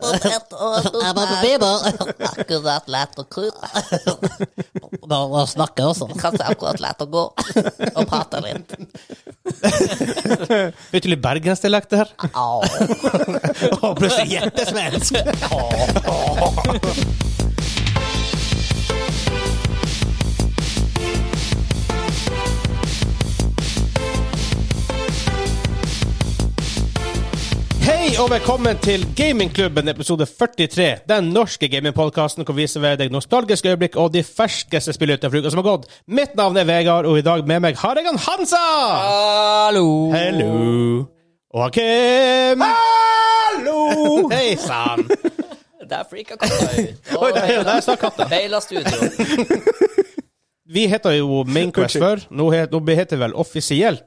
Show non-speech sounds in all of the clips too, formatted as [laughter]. potet og bobler. Akkurat lett og krutt. Nå må snakke også. Kanskje akkurat lett å gå og prate litt. Vet du litt bergensdialekt det her? [laughs] Au. Og plutselig hjertesvensk! Hei og velkommen til Gamingklubben episode 43. Den norske gamingpodkasten hvor vi serverer deg nostalgiske øyeblikk og de ferskeste spillene utenfor uka som har gått. Mitt navn er Vegard, og i dag med meg har jeg han Hansa! Hallo! Hello. Og han Kim. Hallo! [laughs] Hei sann. Der freaka katta ut. Oi, der, der sa katta. Beila studio. Vi heter jo Mainquest før. Nå het- nå heter vi vel offisielt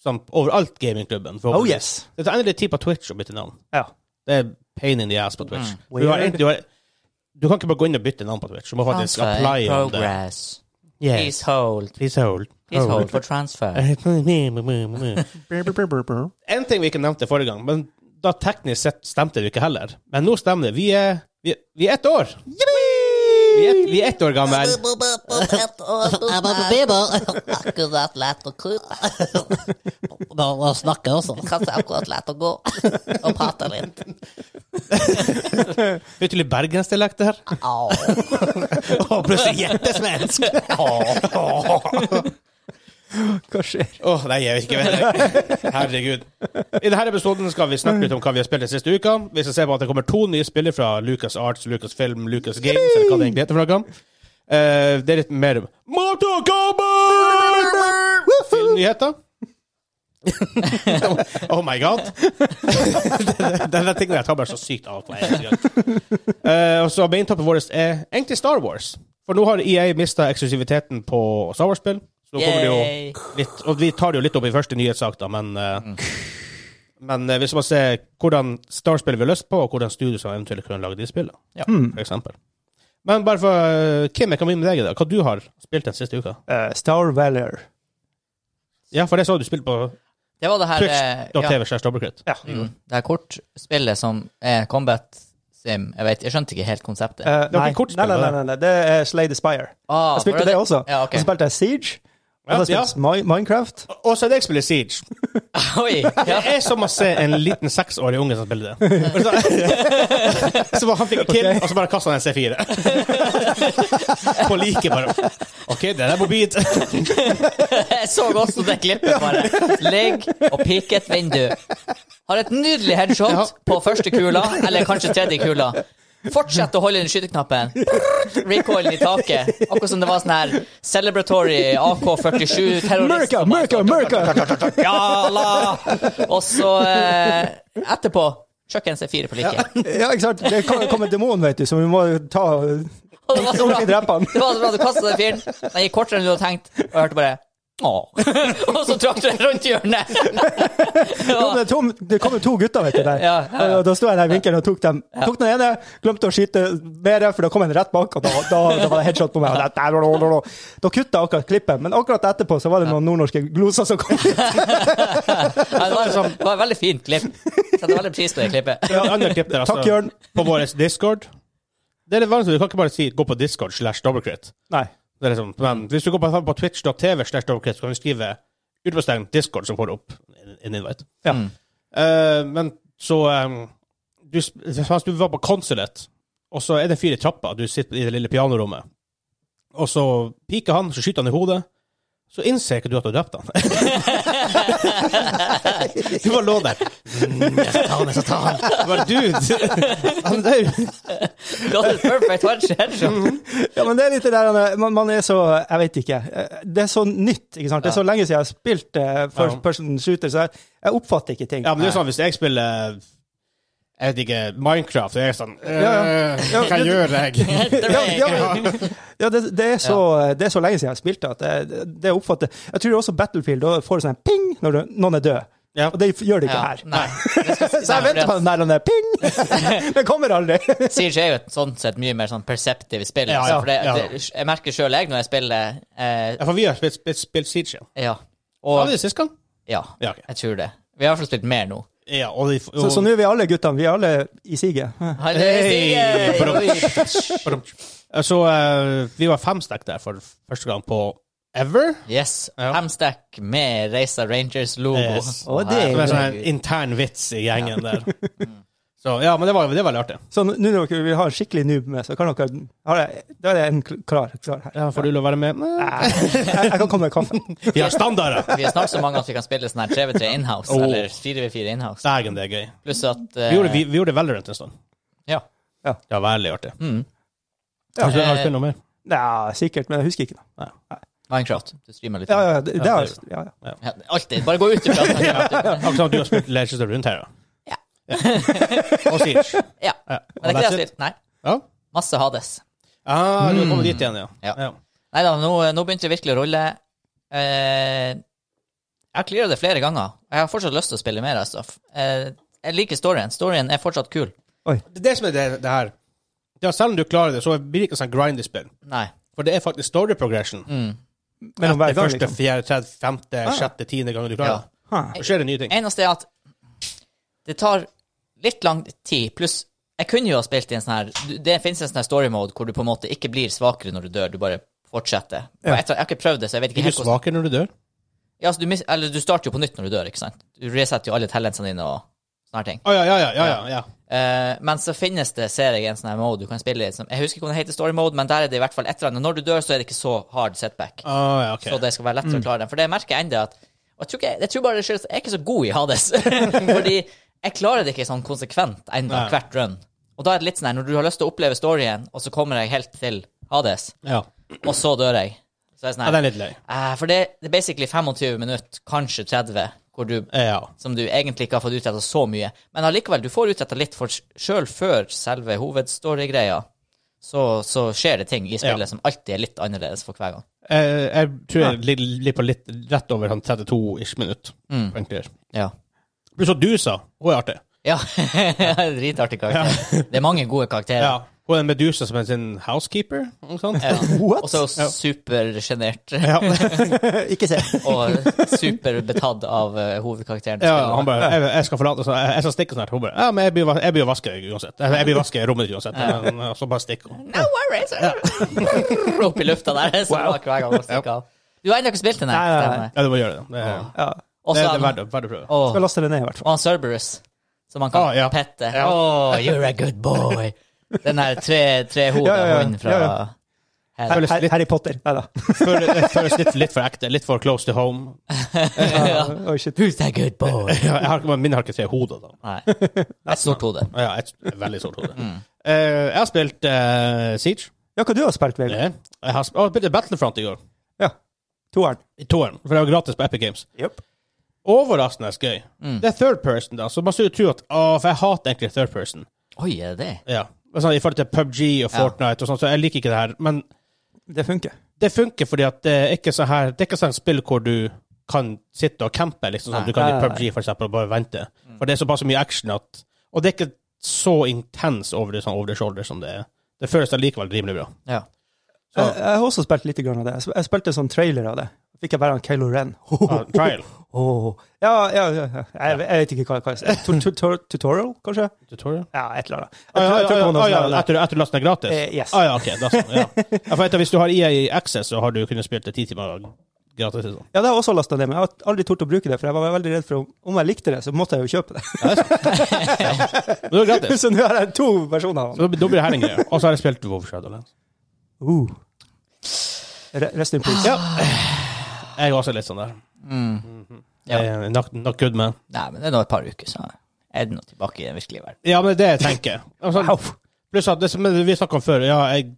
som overalt Gamingklubben. Oh forhåpentligvis. yes. Det tar endelig tid på Twitch å bytte navn. Ja. Det er pain in the ass på Twitch. Du, har, Weird. du, har, du kan ikke bare gå inn og bytte navn på Twitch. Du må faktisk Transfer in apply om det. progress. Please hold. Please hold. Please hold for transfer. [laughs] En ting vi ikke nevnte forrige gang, men da teknisk sett stemte det ikke heller. Men nå stemmer det. Vi er, vi, vi er ett år. Vi er, vi er ett år gammel. Potet og bobler. Akkurat lett og krutt. Nå må snakke også. Kanskje akkurat lett å gå og prate litt. Vet du litt bergensdialekt det her? Au. [laughs] Og plutselig hjertesvensk! Hva skjer? Åh, nei, jeg vet ikke. vet jeg. Herregud. I denne episoden skal vi snakke litt om hva vi har spilt den siste uka. Vi skal se på at det kommer to nye spillere fra Lucas Arts, Lucas Film, Lucas Games, eller hva det egentlig heter for noe. Eh, det er litt mer Mortal Kombat! Filmnyheter. [laughs] oh my god. [laughs] Denne tingen jeg tar bare så sykt av på en gang. Eh, og så Maintoppet vårt er egentlig Star Wars. For nå har EA mista eksklusiviteten på Star Wars-spill. Så nå kommer det jo Yay. litt, og vi tar det jo litt opp i første nyhetssak, da, men eh, Men eh, vi skal bare se hvordan Star-spill vi har lyst på, og hvordan studio som eventuelt kunne lage de spillene, Ja. Hmm. for eksempel. Men bare for eh, Kim, jeg kan begynne med deg i dag. Hva du har spilt den siste uka? Eh, Star Valor. Ja, for det så du spilte på Det var det her eh, ja, Twitch.tv. Ja. Ja. mm, Det her kortspillet som er Combat Sim. Jeg vet, jeg skjønte ikke helt konseptet. Eh, var nei. ikke kortspill, nei, nei, nei, var nei, nei, det er Slay the Spire. Ah, Jeg spilte var det også. Ja, ok. Og så spilte jeg Siege. Og Ja, så spilte jeg Mi- Minecraft. Og så er det jeg spiller Siege. [laughs] Oi! Ja. Det er som å se en liten seksårig unge som spiller [laughs] det. Og Så, [laughs] så bare, han fikk en kill, og så bare kasta han en [laughs] C4. På like, bare. OK, det der er mobilt. Jeg så også det klippet, bare. Ligg og pikk et vindu. Har et nydelig headshot på første kula, eller kanskje tredje kula. Fortsett å holde den skyteknappen. Recoilen i taket. Akkurat som det var sånn her celebratory AK-47 terrorist. America, America, America! [laughs] Ja, la! Og så eh, etterpå Kjøkken C4 på like. Ja, ikke sant? Det kom, kom en demon, vet du, som vi må ta Og det var [laughs] så Ordentlig bra. drepe han. Det var så bra. Du kastet den fyren. Den gikk kortere enn du hadde tenkt, og jeg hørte bare Åh. [laughs] Og så trakk du den rundt hjørnet. Jo, men Det, tom, det kom jo to gutter, vet du, [laughs] der. Ja, ja, ja. Og Da sto jeg der i vinkelen og tok dem. Tok den ene, glemte å skyte mer, for da kom en rett bak, og da, da, da var det headshot på meg. Og da, da, da, da, da. da kutta akkurat klippet, men akkurat etterpå så var det noen nordnorske gloser [laughs] som kom. Ja, det, var, liksom- det var et veldig fint klipp. Setter veldig pris på det klippet. Det er et annet klipp der, altså, Takk, Jørn. På vår Discord. Det er litt vanskelig, du kan ikke bare si 'gå på Discord' slash dobbeltkritt. Nei. Det er liksom, men hvis du går på, på twitch.tv slash dobbeltkritt, så kan du skrive utropstegn 'Discord', som får du opp en- en invite. Ja. Mm. Eh, men så eh, du, sp- Mens du var på Consulate, og så er det en fyr i trappa, du sitter i det lille pianorommet, og så piker han, så skyter han i hodet. Så innser ikke du at du har drept han. [laughs] du bare lå der. Mm, jeg skal ta han, jeg skal ta han. Bare, dude, han er død. Du hadde et perfect hedge- headshot. Ja, men det er litt det der man, man er så Jeg vet ikke. eh, Det er så nytt. ikke sant? Det er så lenge siden jeg har spilt eh, first Ja. person shooter, så jeg, jeg oppfatter ikke ting. Ja, men det er sånn, hvis jeg spiller jeg vet ikke, Minecraft, så er jeg sånn øh, ja. Ja, Hva det- gjør jeg? Ja, ja, men- ja, det, det, er så, det er så lenge siden jeg har spilt det, at det, det oppfatter Jeg tror også Battlefield da får du sånn ping når du, noen er død. Ja. Og det gjør det ikke Ja, her. nei. Det skal- [laughs] Så jeg nei, venter på den der, den der [laughs] ping! Den kommer aldri. Siege er jo et sånn sett mye mer sånn perceptive spill. Ja, altså, ja, for det, ja. det, jeg merker sjøl, jeg, når jeg spiller eh, [laughs] Ja, for vi har spilt, spilt, spilt Siege. Ja. Var Og det sist gang? Ja, Ja, ok. jeg tror det. Vi har i hvert fall spilt mer nå. Ja, og de, f- Så, og, så nå er vi alle guttene, vi er alle i siget. Han er Hei! Stigen! Så eh, vi var fem stakk der for første gang på ever. Yes. Ja. Hamstack med Reisa Rangers-logo. Yes. Å, det er Det jo var sånn en intern vits i gjengen der. Så ja, men det var, det var veldig artig. Så nå når dere vil ha en skikkelig noob med, så kan dere har jeg, Da er det en kl- klar, klar her. Ja, får du lov å være med? Nei. Jeg, [laughs] jeg kan komme med kaffe. Vi har standarder! Vi er snart så mange at vi kan spille sånn her 3v3 inhouse, Oh. eller 4v4 inhouse. Dægen, det er gøy. Pluss at eh, Vi gjorde, vi, vi gjorde Valorant en stund. Ja. Det var veldig artig. Mm. Ja. Kanskje du har spilt noe mer? Ja, sikkert, men jeg husker ikke noe. Minecraft. Du streamer litt. Ja, ja, det, det er, ja, ja. Ja, alltid. Bare gå ut ifra [laughs] at- Akkurat som at du har spilt Legends of Rundt her, da. Ja. Og [laughs] Siege. Ja. Ja. Men det er ikke det jeg sier. Nei. Ja. Masse Hades. Ah, du har kommet dit igjen, ja. Ja. ja. Nei da, nå, nå begynte det virkelig å rulle. Eh, jeg har clearet det flere ganger. Jeg har fortsatt lyst til å spille mer av stuff. Eh, jeg liker storyen. Storyen er fortsatt kul. Det er det som er det, det her. Ja, selv om du klarer det, så blir det ikke sånn grindy-spill. Nei. For det er faktisk story progression. Mellom hver Etter gang, første, liksom. fjerde, tredje, femte, sjette, tiende gang du klarer det. Hæ. Så skjer det nye ting. Eneste er at det tar litt lang tid, pluss jeg kunne jo ha spilt i en sånn her du- Det finnes en sånn her story mode hvor du på en måte ikke blir svakere når du dør, du bare fortsetter. Og etter, jeg har ikke prøvd det, så jeg vet ikke Blir du helt hvordan svakere når du dør? ja, altså, du, mis, eller, du starter jo på nytt når du dør, ikke sant? Du resetter jo alle talentsene dine og sånne her ting. Å Ah, ja, ja, ja, ja, ja, ja. Eh, men så finnes det, ser jeg, en sånn her mode du kan spille i. som- Jeg husker ikke om det heter story mode, men der er det i hvert fall et eller annet. Når du dør, så er det ikke så hard setback. Å, ja, Ah, ok. Mm. Så det skal være lettere å klare den. For det merker jeg ennå at og jeg tror, ikke, jeg tror bare det skyldes Jeg er ikke så god i Hades. [laughs] Fordi jeg klarer det ikke sånn konsekvent ennå, Nei. hvert run. Og da er det litt sånn her, når du har lyst til å oppleve storyen, og så kommer jeg helt til Hades, ja. og så dør jeg. Så er det sånn ja, den her. er litt lei. eh, for det, det er basically 25 minutter, kanskje 30, hvor du Ja. som du egentlig ikke har fått utretta så mye. Men allikevel, du får utretta litt, for sjøl før selve hovedstory-greia, så, så skjer det ting i spillet Ja. som alltid er litt annerledes for hver gang. Jeg, jeg tror jeg ligger ligger på litt rett over sånn 32-ish minutt. Mm. egentlig. Ja. Pluss at du sa hun er artig. ja. [laughs] Dritartig karakter. Det er mange gode Ja. karakterer. Hun er en medusa som er sin housekeeper. Ikke sant? Ja. What? Og så [laughs] supersjenert Ja. Ikke se. og superbetatt av eh, hovedkarakteren. i ja, spillet. han bare jeg, 'Jeg skal forlate så jeg, jeg skal stikke snart.' Hun bare 'Ja, men jeg blir, vas- jeg blir å vaske uansett.' Jeg, jeg blir å vaske rommet ditt uansett. Men, og så bare stikker hun. No worries! [laughs] Opp i lufta der. Så bak hver gang hun stikker av. Du har ennå ikke spilt den? Nei, nei, nei. Ja, du må gjøre det. Det er, Ja. det, Også, er- det er verdt å- verdt å prøve. Åh. Skal laste det ned, i hvert fall. Og han Cerberus, som han kan Ah, ja. pette. Ja. Oh, you're a good boy. Den her tre, tre hodet Ja, ja, ja. hunden fra Ja, ja. Her. Her, her, Harry Potter. Nei da. Føles- Det føles litt, litt for ekte. Litt for close to home. Ja. Oi, shit. Who's that good boy? Ja, jeg har, ikke- min har ikke tre hoder, da. Nei. Et stort hode. Ja, et veldig stort hode. Eh, jeg har spilt eh, Siege. Ja, hva du har spilt, Vegard? Jeg har sp- å, jeg spilte Battlefront i går. Ja. Toeren. I toeren. For det var gratis på Epic Games. Overraskende gøy. Det er third person, da, så man skulle tro at Å, for jeg hater egentlig third person. Oi, er det det? Ja. Men Sånn, I forhold til PubG og Ja. Fortnite og sånn, så jeg liker ikke det her. Men Det funker. det funker fordi at det er ikke sånn her Det er ikke sånn spill hvor du kan sitte og campe, liksom, sånn Nei. at du kan Nei, i nei, PubG for eksempel, og bare vente. For det er såpass mye action at Og det er ikke så intens over det sånn over the shoulder som det er. Det føles allikevel rimelig bra. Ja. Så, Jeg, jeg har også spilt litt grann av det. Jeg sp- Jeg spilte sånn trailer av det. Fikk jeg bare han Kylo Ren. Ho, ho, ja, Ah, trial. ho, ho. Ja, ja, ja. ja. Jeg, jeg vet ikke hva hva [laughs] det er. Tu- tu- tu- Tutorial, kanskje? Tutorial? Ja, et eller annet. Jeg Ah, tror- ja, jeg tror ja, det var noe ja, ja, sånt der. etter, etter lasten er gratis? Eh, yes. Ah, ja, ok. Da, sånn, [laughs] ja. Ja, for etter, hvis du har EA Access, så har du kunnet spille til ti timer gratis. Liksom. Ja, det har jeg også lasta ned, men jeg har aldri tort å bruke det, for jeg var veldig redd for om, om jeg likte det, så måtte jeg jo kjøpe det. Men det er [laughs] gratis. [laughs] Så nå har jeg to versjoner av Så den. da blir- da blir det her en greie. Og så har jeg spilt WoW Shadowlands. Uh. Re- Rest in peace. Ja. Jeg er også litt sånn der. Ja. Eh, Not, not good, man. Nei, men det er nå et par uker, så er det nå tilbake i den virkelige verden. Ja, men det jeg tenker jeg. Altså, Au. Pluss at det som vi snakket om før, ja, jeg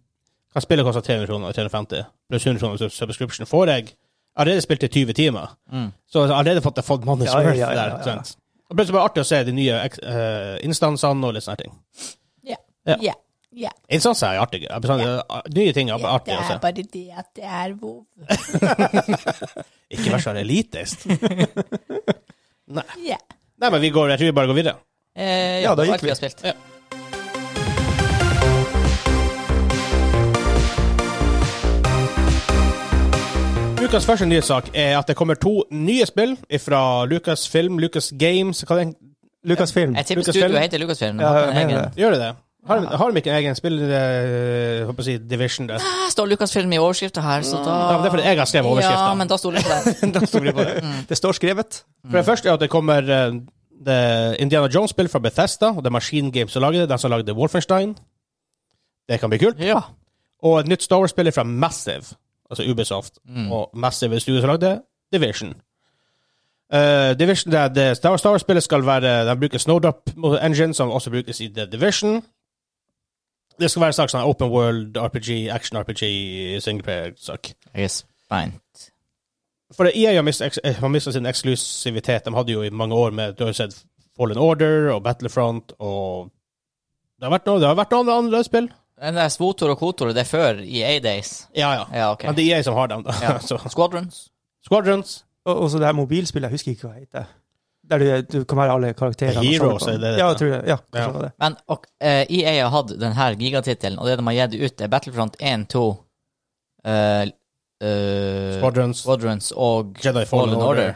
kan spille koster 300 kroner og 350, pluss 100 kroner subscription. Får jeg jeg har allerede spilt i 20 timer, så jeg har allerede fått, fått money's Mm. Ja, ja, worth ja, ja, der. ja. sant? Og plutselig var det artig å se de nye eh, instansene og litt sånne ting. Ja. Ja. Ja. ja. Instanser er artige. Jeg bestandig- Nye ting er Det artig å er se. bare det at det er vov. Ikke vær så elitist. [laughs] Nei. Ja. Nei, men vi går, jeg tror vi bare går videre. Eh, Ja, da det var gikk alt vi. har spilt. Ja. Ukas første nyhetssak er at det kommer to nye spill fra Lucas Film, Lucas Games hva det, Lucasfilm. Jeg tipper Lucasfilm. studio [laughs] heter Lucasfilm. Ja, jeg Ja, mener egen. det. Gjør de det? Har, de- har de ikke egen spiller... eh, håper jeg å si division der? Her står Lucasfilm i overskrifta her, så da Ja, men det er fordi jeg har skrevet overskriften. Ah. Ja, men da stoler jeg på deg. [laughs] Da stoler jeg på det. Det står skrevet. For det første er at det kommer eh, det Indiana Jones-spill fra Bethesda, og det er Machine Games som lager det, de som lagde Wolfenstein. Det kan bli kult. Ja. Og et nytt Star Wars-spill fra Massive, altså Ubisoft, og Massive Studio som lagde Division. Eh, Division det, er det Star Star Wars-spillet skal være De bruker Snowdrop Engine, som også brukes i The Division. Det skal være en slags sånn open world RPG, action RPG, singleplayer-sak. Jeg er spent. For det- EA har mist- eks- eh, har mista sin eksklusivitet. De hadde jo i mange år med Du har jo sett Fallen Order og Battlefront og Det har vært noe, det har vært noen andre spill. Den der Svotor og Kotor, det er før i A-Days. Ja, ja. Ja, ok. Men det er EA som har dem, da. Ja. [laughs] Så, Squadrons. Squadrons, Og og så det her mobilspillet, jeg husker ikke hva det heter. Der du, du kan være alle karakterene. og Heroes, sånn. er det det? Ja, jeg tror det. Ja, Ja. sånn var det. Men og, eh, EA har hatt den her gigatittelen, og det de har gitt ut, er Battlefront 1, 2 eh, eh, Squadrons, Squadrons og Jedi Fallen Order.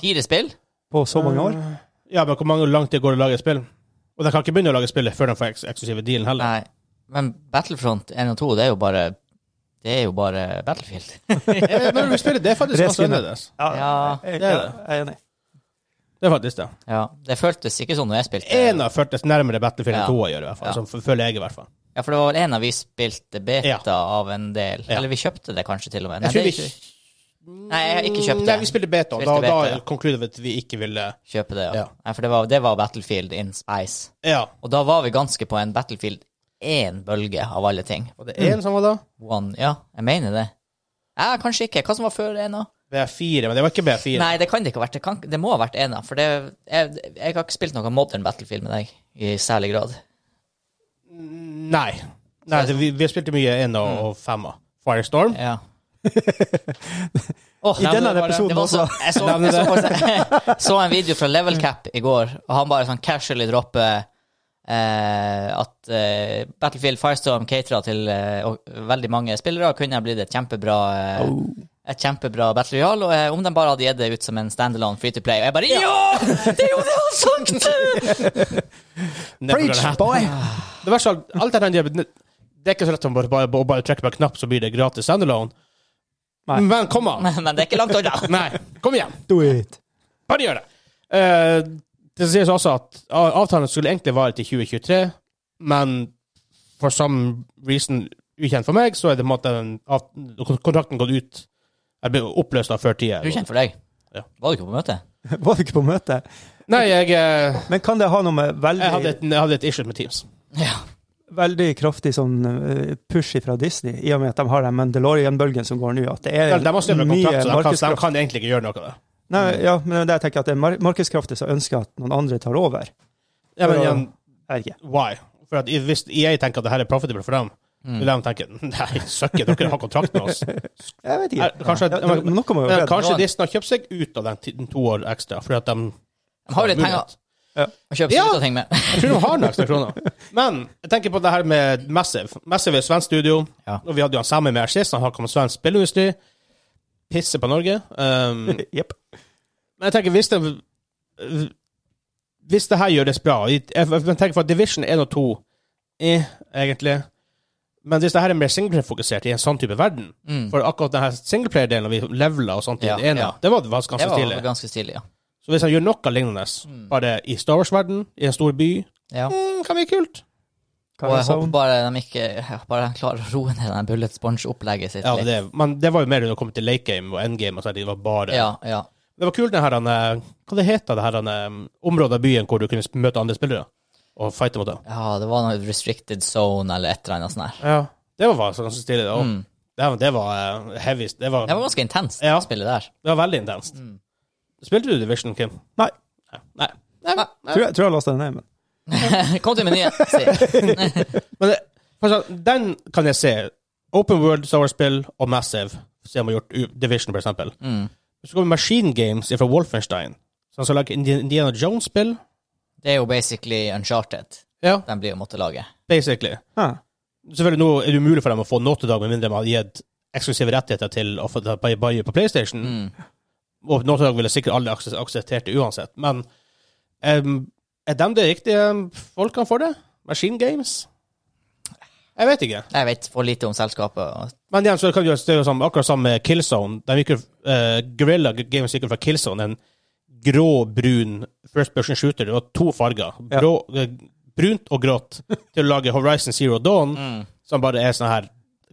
Fire spill? På så mange år. Eh, Ja, men hvor mange langt det går å lage et spill? Og de kan ikke begynne å lage spillet før de får eks eksklusive dealen heller. Nei. Men Battlefront 1 og 2, det er jo bare Det er jo bare Battlefield. [laughs] [laughs] Eh, Når du spiller, det er faktisk ganske Reskin. annerledes. Ja. jeg, Det er jeg, det. jeg er enig. Det er faktisk det. ja. Det føltes ikke sånn når jeg spilte. En av førtes nærmere Battlefield Ja. 2 å gjøre, i hvert fall. Ja. Som f- føler jeg, i hvert fall. Ja, for det var vel en av vi spilte beta Ja. av en del. Ja. Eller vi kjøpte det kanskje til og med. Jeg tror det vi Mm, er ikke- Nei, jeg har ikke kjøpt Nei, vi det. spilte beta, og Spilte da, beta, ja. da konkluderte vi at vi ikke ville Kjøpe det, ja. Ja. Nei, for det var, det var Battlefield in Space. Ja. Og da var vi ganske på en Battlefield 1-bølge av alle ting. Mm. Var det én som var da? One, ja, jeg mener det. Ja, kanskje ikke. Hva som var før ena? B4, men det var ikke B4. Nei, det kan det ikke ha vært. Det, kan, det må ha vært ena. For det, jeg, jeg har ikke spilt noe modern Battlefield med deg i særlig grad. Nei. Nei det, vi, vi spilte mye én og, og femmer. Firestorm. Ja. I denne episoden Det var så, også. jeg, så, jeg, så, faktisk- så en video fra Level Cap i går, og han bare sånn casually dropper eh, at eh, Battlefield Firestorm catera til eh, og, veldig mange spillere og kunne ha blitt et kjempebra eh, Et kjempebra Battle Royale, og eh, om de bare hadde gitt det ut som en standalone free to play. Og jeg bare Ja! Det er jo det han sagt! Never gonna Preach, happen. boy! [sighs] Det verste av alt er den jævla- Det er ikke så lett å bare, bare, å bare trekke på en knapp, så blir det gratis standalone. Nei. Men kom an! [laughs] Men det er ikke langt unna. Nei, kom igjen! Do it! [laughs] Bare gjør det! Eh, det sies også at a- avtalen skulle egentlig vare til 2023, men for some reason ukjent for meg, så er det på en måte en av- kontrakten gått ut Jeg ble oppløst av før tida. Du er kjent for deg. Ja. Var du ikke på møte? Var vi ikke på møte? Nei, jeg eh, Men kan det ha noe med Jeg hadde veldig, et, jeg hadde et issue med Teams. Ja. veldig kraftig sånn eh, push fra Disney, i og med at de har den Mandalorian-bølgen som går nå, at det De, er de har skrevet en kontrakt, så de kan, de markedskraft kan egentlig ikke gjøre noe av det. Nei, ja, men det er det jeg tenker at det er mar markedskrafter som ønsker at noen andre tar over. Ja, men Ja. igjen, Er ikke. why? For at Hvis EA tenker at det her er profitable for dem, Mm. vil de tenke [laughs] nei, søkker, dere har kontrakt med [laughs] oss. Jeg vet Er, ikke. kanskje Ja, det- noe må jo men være. kanskje Disney har kjøpt seg ut av den ti- den to år ekstra, fordi at de De har jo litt penger mulighet. å kjøpe Ja. seg ut av ting med. Jeg tror de har noen ekstra [laughs] kroner. Men jeg tenker på det her med Massive. Massive er svensk studio, Ja. og vi hadde jo han sammen med her sist, han har kommet svensk spillindustri. Pisser på Norge. Um, Jepp. Men jeg tenker, hvis det øh, Hvis det her gjøres bra Jeg jeg tenker for at Division 1 og 2 eh, egentlig. Men hvis det her er mer singleplayer-fokusert i en sånn type verden Mm. For akkurat denne singleplayer-delen, når vi levela og sånt, i Ja, den ene, ja. det var faktisk ganske Det var stilig. ganske Mm. stilig, ja. Så hvis han gjør noe lignende, bare i Star Wars-verden, i en stor by, ja. mm, kan bli kult. Hva Og er jeg håper sånn? bare de ikke jeg håper bare de klarer å roe ned den bullet sponge-opplegget sitt. Ja, litt. det, men det var jo mer når det kom til late game og endgame. Altså, det var bare ja, ja. Det var kult, den her han, eh, Hva det heter det her han, eh, området av byen hvor du kunne sp- møte andre spillere og fighte mot dem? ja, det var noe restricted zone eller et eller annet sånt her. Ja, det var faktisk ganske stilig. da. Mm. Det, var- det var eh, heavy. Det var, Det var ganske intenst, Ja. spillet der. [laughs] det var veldig intenst. Spilte du Division, Kim? Nei. Nei. Nei. Nei. Tror jeg, tror jeg lasta den ned, men Kom til menyen, si. Men det, for sånn, den kan jeg se. Open World, Star Wars-spill og Massive. Se om vi har gjort U- Division, for eksempel. Mm. Så kommer Machine Games fra Wolfenstein. Sånn som lager Indi- Indiana Jones-spill. Det er jo basically uncharted Ja. de blir å måtte lage. Basically. ja. Selvfølgelig nå er det umulig for dem å få noe til dag, med mindre de har gitt eksklusive rettigheter til å få det på- på- på PlayStation. Mm. Og noe til dag ville sikkert alle akse- akseptert det uansett. Men Em, er de de riktige folkene for det? Machine Games? Jeg vet ikke. Jeg vet for lite om selskapet. og- Men igjen, så kan du gjøre det er jo sånn, akkurat samme med Killzone. De gikk jo, eh, Guerrilla Games gikk jo fra Killzone, en grå-brun first person shooter. Det var to farger. Brå, eh, brunt og grått. Til å lage Horizon Zero Dawn, som bare er sånn her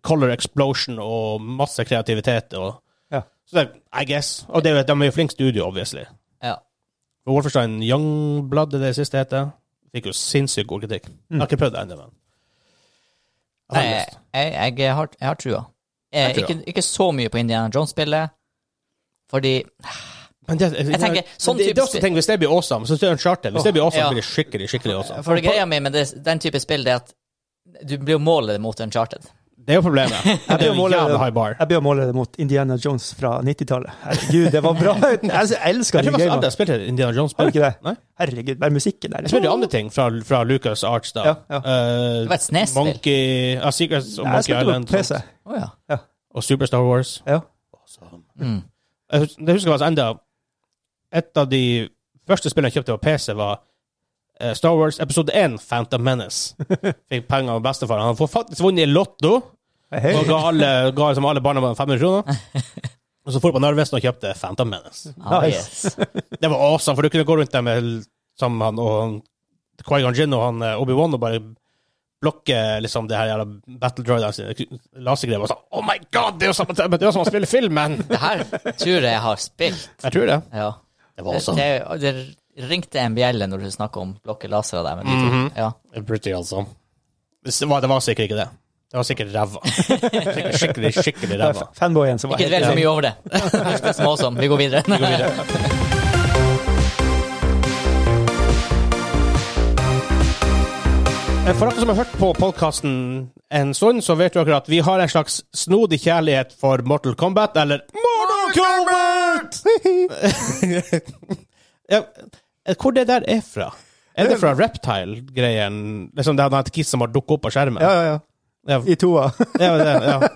color explosion og masse kreativitet. Og, Ja. Så det, I guess. Og det, er jo- de er jo flink studio, obviously. Ja. Og Wolfenstein Youngblood, det er det siste heter. Fikk jo sinnssykt god kritikk. Jeg har ikke prøvd det ennå, men Jeg har Nei, lyst. jeg, jeg, jeg, har, jeg har trua. Eh, Jeg tror ikke, ikke så mye på Indiana Jones-spillet, fordi Men det, jeg, tenker, sånn det, det, type er også spill- ting, Hvis det blir awesome, så er det Uncharted. Hvis det blir awesome, Ja. blir det skikkelig skikkelig awesome. For det greia mi med det, den type spill, det er at du blir jo målet mot Uncharted. Det er jo problemet. Det er blir jo en målet- jævla high bar. Jeg blir å måle det mot Indiana Jones fra 90-tallet. Herregud, det var bra! Jeg Jeg elsker de tror faktisk aldri gamene. jeg spilte Indiana Jones. Har du ikke det? Nei. Herregud, bare musikken der. Jeg spilte andre ting fra, fra Lucas Arts, da. Ja, ja. Eh, Det var et SNES-spill. Monkey ja, Secrets og Nei, jeg Monkey spilte Island. på PC. sånt. Å ja. Og Super Star Wars. Ja. [laughs] Mm. Jeg hus- jeg husker faktisk enda Et av de første spillene jeg kjøpte på PC, var eh, Star Wars episode 1, Phantom [laughs] Menace. Fikk penger av bestefar. Han har faktisk vunnet i Lotto. Hei. Og ga alle, ga liksom alle barna våre 500 kroner. [laughs] Og så dro jeg på Narvesen og kjøpte Phantom Menace. Ah, Nice. yes. Det var awesome, for du kunne gå rundt der med sammen med han og han- Qui-Gon Jinn og han eh, Obi-Wan og bare blokke liksom det her jævla battle droidene sine lasergreier. Og sånn Oh my god, det er jo som, det er jo som å spille film, men Det her tror jeg jeg har spilt. [laughs] Jeg tror det. Ja. Det Det, det, det ringte en bjelle når du snakker om blokke lasere der. Men de to. ja. Pretty awesome. Det var, det var sikkert ikke det. Det var sikkert ræva. [laughs] Sikkert Skikkelig, skikkelig Det er ræva. fa- Fanboyen som var Ikke dvel så mye [laughs] over det. Husk det små som. Vi går videre. For dere som har hørt på podkasten en stund, så vet dere at vi har en slags snodig kjærlighet for Mortal Kombat, eller Mortal Kombat! [laughs] Ja, Hvor det der er fra? Er det fra Reptile-greien? Liksom det er et kiss som har dukket opp på skjermen? Ja, ja, ja. Ja, I toa. [laughs] ja, det, ja.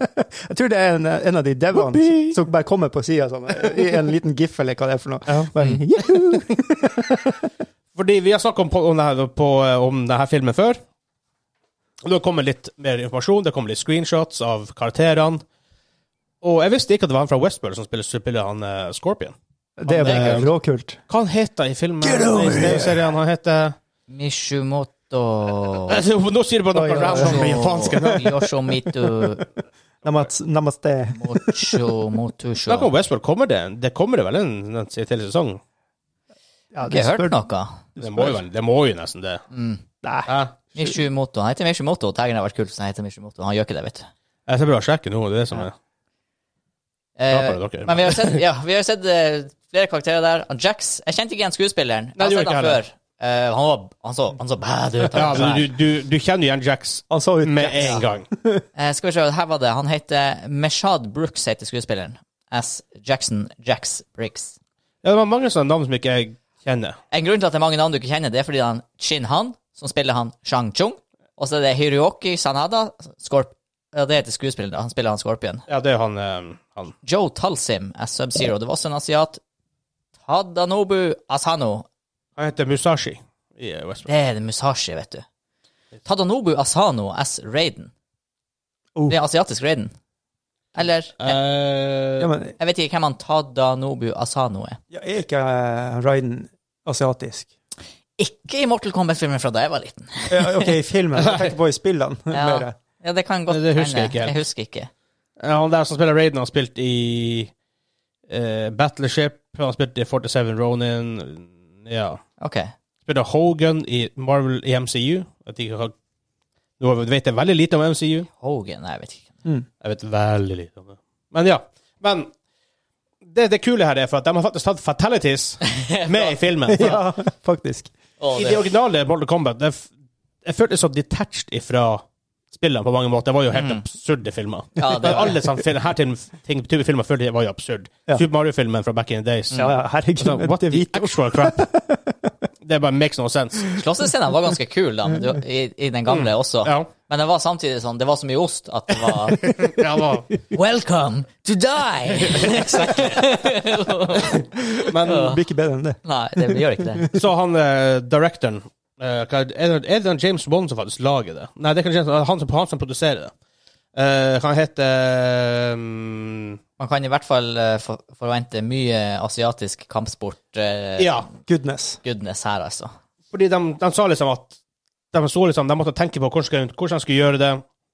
Jeg tror det er en, en av de devene som- som bare kommer på sida sånn, i en liten gif eller hva det er for noe. Bare, «Juhu!» Fordi vi har snakket om, på- om, denne, på, eh, om denne filmen før. Og Det kommer litt mer informasjon, det kommer litt screenshots av karakterene. Og jeg visste ikke at det var han fra Westworld som spiller, spiller han eh, Scorpion. Det er bare råkult. Hva han heter i filmen? I serien han heter [laughs] Mishumoto Altså, [laughs] Nå sier du bare noe Oi, oi, oi. random på japansk. [laughs] Yoshomitu Namas- Namaste. Mocho Motusho. Snakk om Westworld, kommer det? Det kommer det vel en, en til sesong? Ja, du Ikke spør- hørt noe. Det må jo, vel- det må jo nesten det. Nei. Hæ? Mishumoto. Han heter Mishumoto. Taggen har vært kul, så han heter Mishumoto. Han gjør ikke det, vet du. Jeg skal prøve å sjekke nå. Det er det som er Eh, Bra på dere. men vi har sett, ja, vi har sett eh, flere karakterer der. Han Jax Jeg kjente ikke igjen skuespilleren. Jeg Nei, har det sett gjorde han ikke jeg før. Eh, han, var, han, så, han så bad ut. altså. ja, Han var men du, svær. du, du kjenner jo igjen Jax Han så ut med en gang. Eh, skal vi se, her var det. Han heter Meshad Brooks, heter skuespilleren. S. Jackson Jax Briggs. Ja, det var mange sånne navn som ikke jeg kjenner. En grunn til at det er mange navn du ikke kjenner, det er fordi det er han Shin Han, som spiller han Shang Chung, og så er det Hiroki Sanada, Scorp ja, det heter skuespilleren, da. han spiller han Scorpion. Ja, det er jo han, eh, han. Joe Talsim er Sub-Zero. Det var også en asiat. Tadanobu Asano. Han heter Musashi i eh, Westworld. Det er det Musashi, vet du. Tadanobu Asano S. Raiden. Oh. Det er asiatisk Raiden. Eller Eh. jeg, Ja, men jeg vet ikke hvem han Tadanobu Asano er. ja, er ikke uh, Ryden asiatisk? Ikke i Mortal Kombat-filmen fra da jeg var liten. Ja, OK, i filmen. Jeg tenker på i spillene. Ja, Mer. ja det kan godt Det husker jeg hende. ikke helt. Jeg husker ikke. Ja, han der som spiller Raiden, har spilt i eh, Battleship, han har spilt i 47 Ronin, ja. Ok. Spilte Hogan i Marvel i MCU. Jeg vet ikke hva- Nå vet jeg veldig lite om MCU. Hogan, nei, jeg vet ikke. Jeg vet veldig lite om det. Men ja. Men det, det kule her er for at de har faktisk tatt [laughs] fatalities med i filmen. Ja, faktisk. Å, I det- det originale Mortal Kombat det, f- Jeg følte så detached ifra spillene på mange måter. Det var jo helt absurde filmer. Mm. Ja, [laughs] det var det. Alle sånne film, her til, ting, type filmer følte jeg var jo absurd. Ja. Super Mario-filmen fra back in the days. [laughs] Ja, ja, herregud. Så, what det [laughs] the er hvit. actual crap? Det bare makes no sense. Slåssescenen var ganske kul da, men det var- i, i den gamle også. Mm. Ja. Men det var samtidig sånn, det var så mye ost at det var [laughs] Ja, det var. Welcome to [laughs] die! Men Det blir ikke bedre enn det. [laughs] Nei, det gjør ikke det. så han eh, directoren eh, hva er, det- er det- er det han James Bond som faktisk lager det? Nei, det er ikke James, Bond, han, som, han som produserer det. Eh, han heter um, Man kan i hvert fall eh, for, forvente mye asiatisk kampsport-goodness Ja. Goodness. her, altså. Fordi de, de sa liksom at de, så liksom, de måtte tenke på hvordan, skulle- hvordan de skulle gjøre det.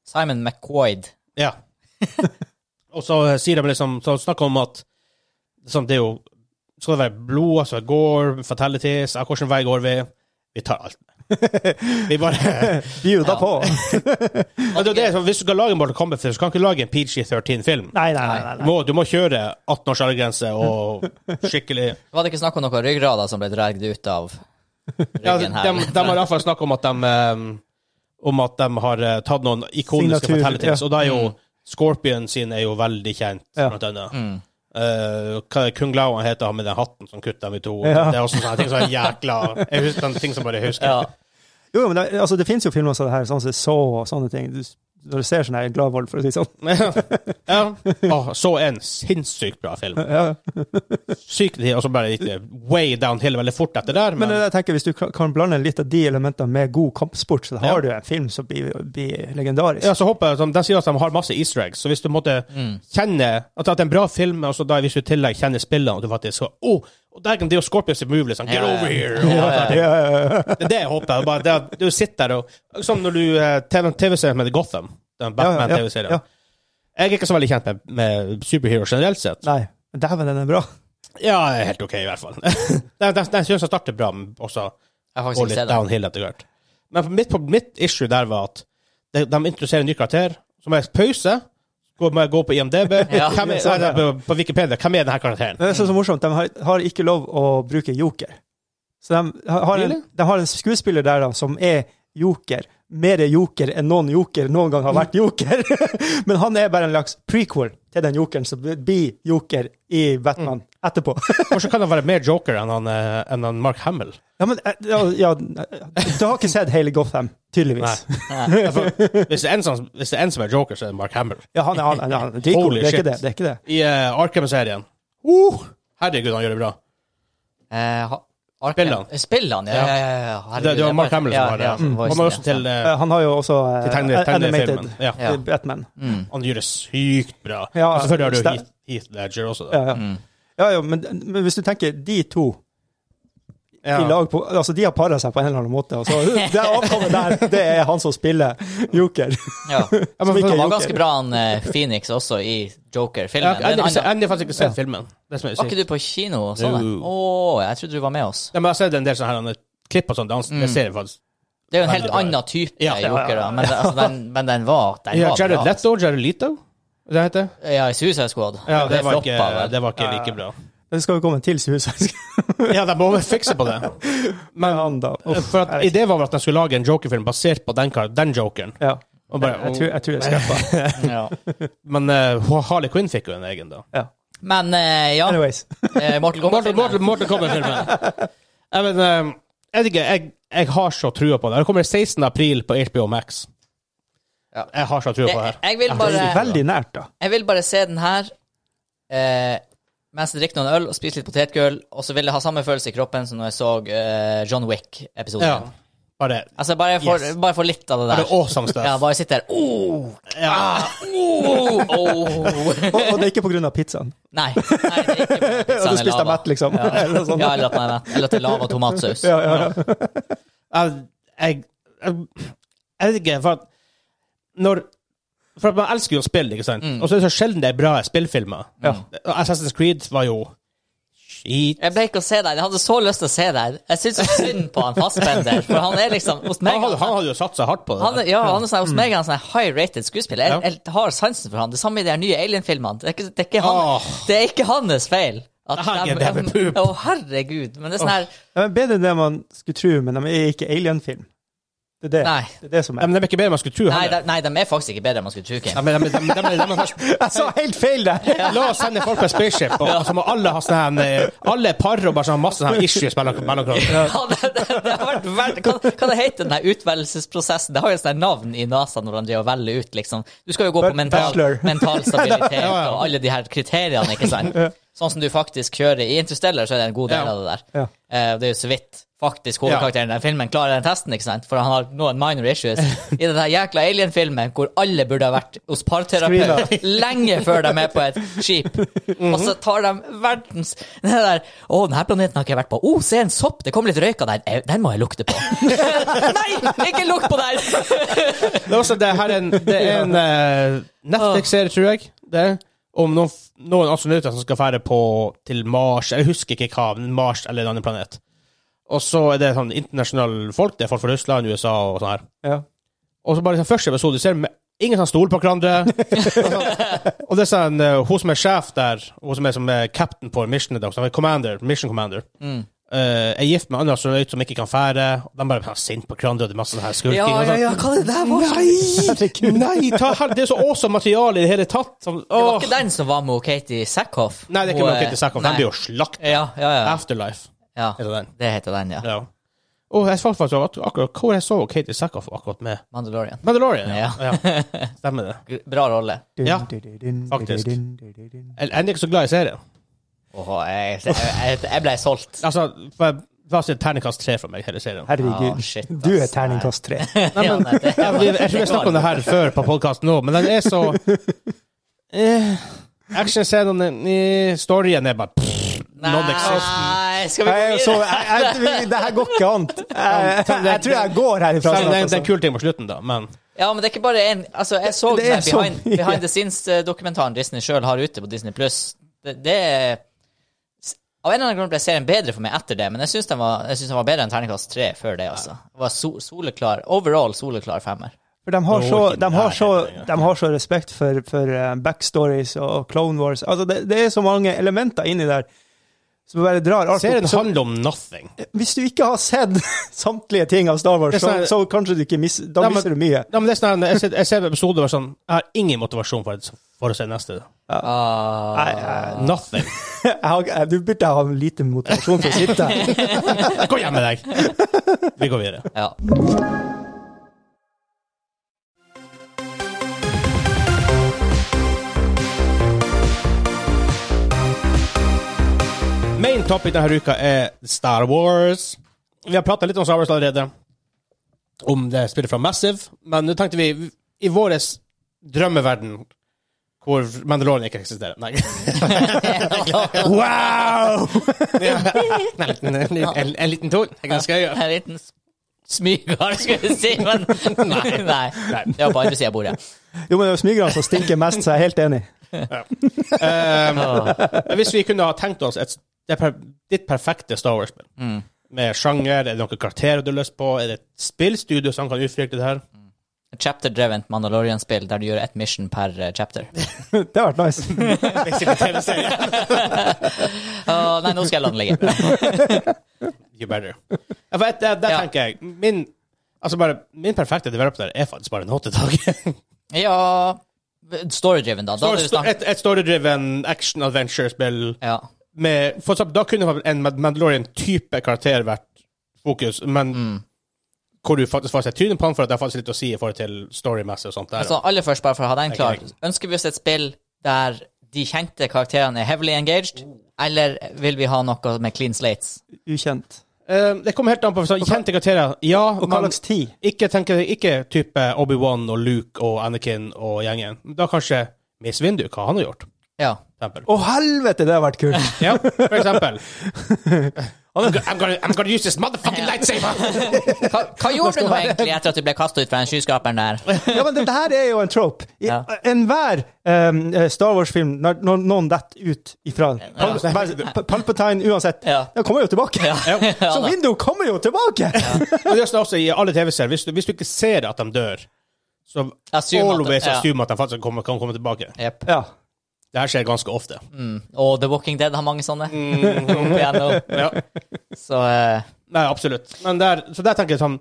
Simon McQuaid. [laughs] Ja. og så sier de liksom Så snakker de om at liksom, det er jo Skal det være blod, altså går, fatalities ja, Hvilken vei går vi? Vi tar [laughs] alt. Vi bare Bjuda Ja. på. Men det er det, så Hvis du skal lage en Mortal Kombat-film, så kan du ikke lage en PG-13-film. Nei, nei, nei. Du nei. må, du må kjøre 18 års aldersgrense og [laughs] skikkelig Var det ikke snakk om noen ryggrader som ble dratt ut [laughs] av ja, de, ryggen her? de har iallfall snakka om at de eh, Om at de har eh, tatt noen ikoniske Signatur, fatalities, ja. og da er jo Mm. Scorpion sin er jo veldig kjent, Ja. blant annet. Mm. Eh, hva er Kung Lao han heter han med den hatten som kutter dem i to? Ja. Det er også sånne ting som er jækla Jeg husker sånne ting som bare jeg husker. ja. Jo, men det, altså, det finnes jo filmer som det her, sånn som så og sånne ting. Du, når du ser sånn her Gladvold, for å si det sånn. [laughs] ja. Åh, så en sinnssykt bra film. Ja. Sykt, og så bare gikk det way downhill veldig fort etter der. Men Men, jeg tenker, hvis du kan- kan blande litt av de elementene med god kampsport, så Ja. har du en film som blir, blir legendarisk. ja, så håper jeg, som De sier at de har masse easter eggs, så hvis du måtte Mm. kjenne at det er en bra film, og så da hvis du i tillegg kjenner spillene, og du faktisk så, oh, og der kan det jo Scorpions move, liksom. Get Ja, ja. over here! Ja, Og, ja, ja. Ja, ja, ja. Det er det jeg håper. Bare det at du sitter der og Som når du eh, TV- TV-serien med Gotham, den Batman-TV-serien. ja. Jeg er ikke så veldig kjent med, med superhero generelt sett. Nei, men dæven, den er bra. Ja, jeg er helt OK, i hvert fall. [laughs] Den- Den den synes jeg starter bra, men også Jeg har faktisk går ikke litt sett den. downhill etter hvert. Men for mitt, mitt issue der var at de, de introduserer en ny karakter, så må jeg pause, gå, må jeg gå på IMDb [laughs] Ja. hvem er, Ja, sånn, ja. nei, på, på Wikipedia, hvem er denne [laughs] karakteren? Men det er så, så morsomt, de har, har ikke lov å bruke joker. Så de har, har en, Really? de har en skuespiller der da, som er joker. Mer joker enn noen joker noen gang har vært joker. [laughs] Men han er bare en slags prequel til den jokeren som blir joker i Batman Mm. etterpå. [laughs] Hvordan kan han være mer joker enn han, eh, enn han Mark Hamill? Ja, men eh, ja, ja, Du har ikke sett hele Gotham, tydeligvis. For, hvis, det er en som, hvis det er en som er joker, så er det Mark Hamill. Ja, han, er- han, han, han er dritgod. Holy det er shit. ikke det. det, er ikke det. I eh, Arkham-serien uh, Herregud, han gjør det bra. Eh, ha- Arkham- Eh, Spillene. Spillene, ja. ja, ja, ja. Herregud, Det, det var jeg Mark bare- Hamill ja, som var det. ja, Han voicen, var ja. også til, eh, Eh, Han har jo også eh, til tegne, animated tegnefilmen. Ja. Ja. Batman. Han gjør det sykt bra. Ja, og selvfølgelig har du sta- Heath, Heath Ledger også. Da. Ja, ja. ja, ja men, men hvis du tenker de to i lag på, altså De har para seg på en eller annen måte. Og så, [laughs] det avkommet der, det er han som spiller Joker. [laughs] Ja. Som ikke Det er var Joker. ganske bra han eh, Phoenix også i Ja, Joker-filmen. jeg Men har Anna, enda faktisk ikke sett filmen. Det som er Var sykt. ikke du på kino og så den? Jo. Å, jeg trodde du var med oss. Ja, men jeg har sett en del sånne her, klipp og sånn dans. Det ser jeg faktisk. Det er jo en helt Veldig bra. annen type Ja, ja, ja, Joker, da. Men, det- altså, den, men den var, den Ja, var Jared bra. Leto, Jared Leto, det heter. Ja, i Suicide Squad. Ja, det var ikke, floppa, vel? det var ikke like bra. Det skal jo komme til Suicide [laughs] [laughs] Ja, de må vel fikse på det. Squad. da. Uff, [laughs] For at, Ideen var vel at de skulle lage en Joker-film basert på den, kar- den Jokeren. Ja. Og Jeg, bare, jeg, tror, jeg tror jeg [laughs] skaffer. Ja. Men eh, Harley Quinn fikk jo en egen, da. Men eh, ja, Anyways. eh, Mortal Morten, Kombat-filmen. Morten, Morten kommer [laughs] filmen. Jeg, men, eh, jeg, vet ikke, jeg, jeg har så trua på det. Det kommer 16. april på HBO Max. Ja. Jeg har så trua på det her. Jeg, jeg, vil Det er bare, veldig nært, da. jeg vil bare se den her eh, mens jeg drikker noen øl og spiser litt potetgull, og så vil jeg ha samme følelse i kroppen som når jeg så eh, John Wick-episoden. Ja. Bare, Altså, bare jeg får- Yes. bare få litt av det bare der. awesome stuff. Ja, bare sitte der oh, ah, oh, oh. Og, og det er ikke pga. pizzaen. Nei, nei, det er ikke på Ja, pizzaen du er spiste lava. mett, liksom. [laughs] Eller noe sånt. Ja, eller at, nei, nei, eller at det er lava tomatsaus. Ja, ja, ja. jeg, jeg, jeg, jeg vet ikke, for at når For at man elsker jo spill, ikke sant? Og så er det så sjelden det er bra spillfilmer. Assassin's Creed var jo skit. Jeg ble ikke å se deg. Jeg hadde så lyst til å se deg. Jeg syns så synd på han fastbender, for han er liksom hos meg Han hadde, han hadde jo satsa hardt på det. han er, ja, han er sånn, hos meg er han sånn high-rated skuespiller. Ja. Jeg, jeg har sansen for han. Det samme i de her nye Alien-filmene. Det, er ikke- det, er ikke han- Åh. det er ikke hans feil. At Han er de- en jævla pup. Å, herregud. Men det er sånn her Ja, men Bedre enn det man skulle tro, men de er ikke alien-film. Det er det, Nei. det, er det som Nei, er. men de er ikke bedre enn man skulle tro. Nei, heller. de, nei, de er faktisk ikke bedre enn man skulle tro. Kim. Nei, men de- de- de- de- de- de- Jeg sa helt feil der! La oss sende folk på spaceship, og og så må alle ha sånn her, eh, Alle er par og bare sånn masse sånn her issues mellom mellom hverandre. Ja, det, det, det har vært veld... Hva, hva det heter den der utvelgelsesprosessen? Det har jo et sånt navn i NASA når de driver og velger ut, liksom. Du skal jo gå på mental, [laughs] Bachelor. mental [laughs] stabilitet og alle de her kriteriene, ikke sant? Sånn som du faktisk kjører I Interstellar så er det en god del Ja. av det der. Ja. Eh, Det er jo så vidt faktisk hovedkarakteren i den filmen klarer den testen, ikke sant? For han har noen minor issues. [laughs] I den der jækla alien-filmen hvor alle burde ha vært hos parterapeut [laughs] lenge før de er på et skip, Mhm. og så tar de verdens den der, Å, denne planeten har ikke jeg vært på. Å, se en sopp! Det kommer litt røyk av den. Eh, Den må jeg [laughs] lukte på. Nei, ikke lukt på den! Det er også det her er en, det er en eh, Netflix-serie, tror jeg, det er, om noen, f- noen astronauter som skal fære på til Mars, jeg husker ikke hva, men Mars eller en annen planet. Og så er det sånn internasjonale folk, det er folk fra Russland, USA og sånn her. Ja. Og så bare liksom, første episode, du ser med, ingen som stoler på [laughs] hverandre. og det er sånn, eh, hun som er sjef der, hun som er som er captain på missionet, der, som er commander, mission commander, Mm. eh, er gift med en annen astronaut som ikke kan fære, og de bare blir sånn sint på hverandre, og det er masse sånn her skurking. Ja, og ja, sånn. ja, hva er det der var? Herregud. Nei, ta, her- det er så awesome materiale i det hele tatt. Sånn, Det var åh. ikke den som var med Katie Sackhoff? Nei, det er ikke Hun, Rocket eh, til Sackhoff. nei. Den blir jo slakt. Ja, ja, ja. Afterlife ja. heter den. Det heter den, ja. Ja. Og jeg falt faktisk over at akkurat hvor jeg så Katie Sackhoff akkurat med Mandalorian. Mandalorian. Ja. Ja. ja. Stemmer det. Bra rolle. Ja, Dun-dun-dun-dun-dun-dun. faktisk. Jeg jeg er ikke så glad i serien. Åh, jeg, jeg, jeg, jeg ble solgt. Altså, for jeg var et terningkast tre for meg, hele serien. Herregud. Ah, shit, ass. du er terningkast [laughs] tre. Ja, nei, det- Jeg, jeg, tror vi har snakket om det her før på podkasten nå, men den er så eh, Actionscenene i storyen er bare pff, non-existent. Nei, skal vi Jeg gå er så, videre? jeg, jeg, det her går ikke an. Jeg, jeg, jeg tror jeg går herifra Selv om Det er- snart. det er en Altså. kul ting på slutten, da, men Ja, men det er ikke bare én. Altså, jeg så Det den er her så behind, mye. behind the Scenes-dokumentaren Disney sjøl har ute på Disney Pluss. Det, det er s- Av en eller annen grunn ble serien bedre for meg etter det, men jeg syns den, var- jeg synes den var bedre enn terningkast tre før det, altså. Det var so, soleklar, overall soleklar femmer. For de har så, de har så, Nei, det er de har så respekt for, for eh, backstories og Clone Wars. Altså, det, det er så mange elementer inni der som bare drar alt serien opp. Så, handler om nothing. hvis du ikke har sett [laughs] samtlige ting av Star Wars, Det er sånn- så, så kanskje du ikke miss, da Ja, men- mister du mye. Ja, men det er sånn, jeg ser, jeg ser episoder hvor sånn, jeg har ingen motivasjon for, å- for å se neste. Ah, [laughs] Jeg, jeg, Nothing. jeg, har- jeg, du burde ha lite motivasjon for å sitte her. [laughs] Gå hjem med deg! Vi går videre. ja. Main topic denne uka er Star Wars. Vi har prata litt om Star Wars allerede, om det spillet fra Massive, men nå tenkte vi I vår drømmeverden hvor Mandalorian ikke eksisterer Nei. [laughs] wow! Nei, en, en, en liten ton. Jeg skal gjøre. En liten s- smygar, skulle jeg si, men [laughs] nei. nei. Det var på andre sida av bordet. Jo, men det er jo smygerne som stinker mest, så jeg er helt enig. Ah. Ehm, Men Hvis vi kunne ha tenkt oss et, det per, ditt perfekte Star Wars-spill, Mm. med sjanger, er det noen karakterer du har lyst på, er det et spillstudio som kan utvikle det her? Chapter-drevet Mandalorian-spill der du gjør ett mission per eh, chapter. Det har vært [laughs] nice. Basically TV-serie. Ah, nei, nå skal jeg la den ligge. You better. Ja, for det, det Ja. tenker jeg. Min, altså bare, min perfekte developer er faktisk bare en hottedag. Ja Story-driven, da. da hadde du snakket- et et storydriven action-adventure-spill ja. med for eksempel, Da kunne for eksempel en Mad- Mandalorian-type karakter vært fokus, men Mm. hvor du faktisk får seg trynet på han for at det er faktisk litt å si i forhold til storymessig og sånt. der. Altså, aller først, bare for å ha den klar, Ok, greit. ønsker vi oss et spill der de kjente karakterene er heavily engaged, eller vil vi ha noe med clean slates? Ukjent. Eh, det kommer helt an på. Sånn, kjente karakterer, ja. Og hva men slags tid? ikke, tenker, ikke type Obi-Wan og Luke og Anakin og gjengen. Da kanskje Miss Windu, hva han har gjort. Ja. For eksempel. Å, helvete, det har vært kult! Ja, for [laughs] eksempel. Oh, I'm gonna, I'm gonna- I'm gonna use this motherfucking [laughs] lightsaber! Hva, [laughs] hva gjorde du nå egentlig etter at du ble kasta ut fra den skyskraperen der? Ja, men dette her er jo en trope. I- Ja. Enhver em, eh, Star Wars-film, når, når noen detter ut ifra Pal Pal- Palpatine, uansett, Ja. den kommer jo tilbake. Ja, Så da. Window kommer jo tilbake! Og det er også i alle TV-serier. Hvis, du- hvis du ikke ser at de dør, så Assume at de- always ja. assume at de faktisk kommer, kan komme tilbake. Jepp. Ja. Det her skjer ganske ofte. Og The Walking Dead har mange sånne. Mm. [laughs] Opp igjennom. Ja. Så eh, Nei, absolutt. Men der, så der tenker jeg sånn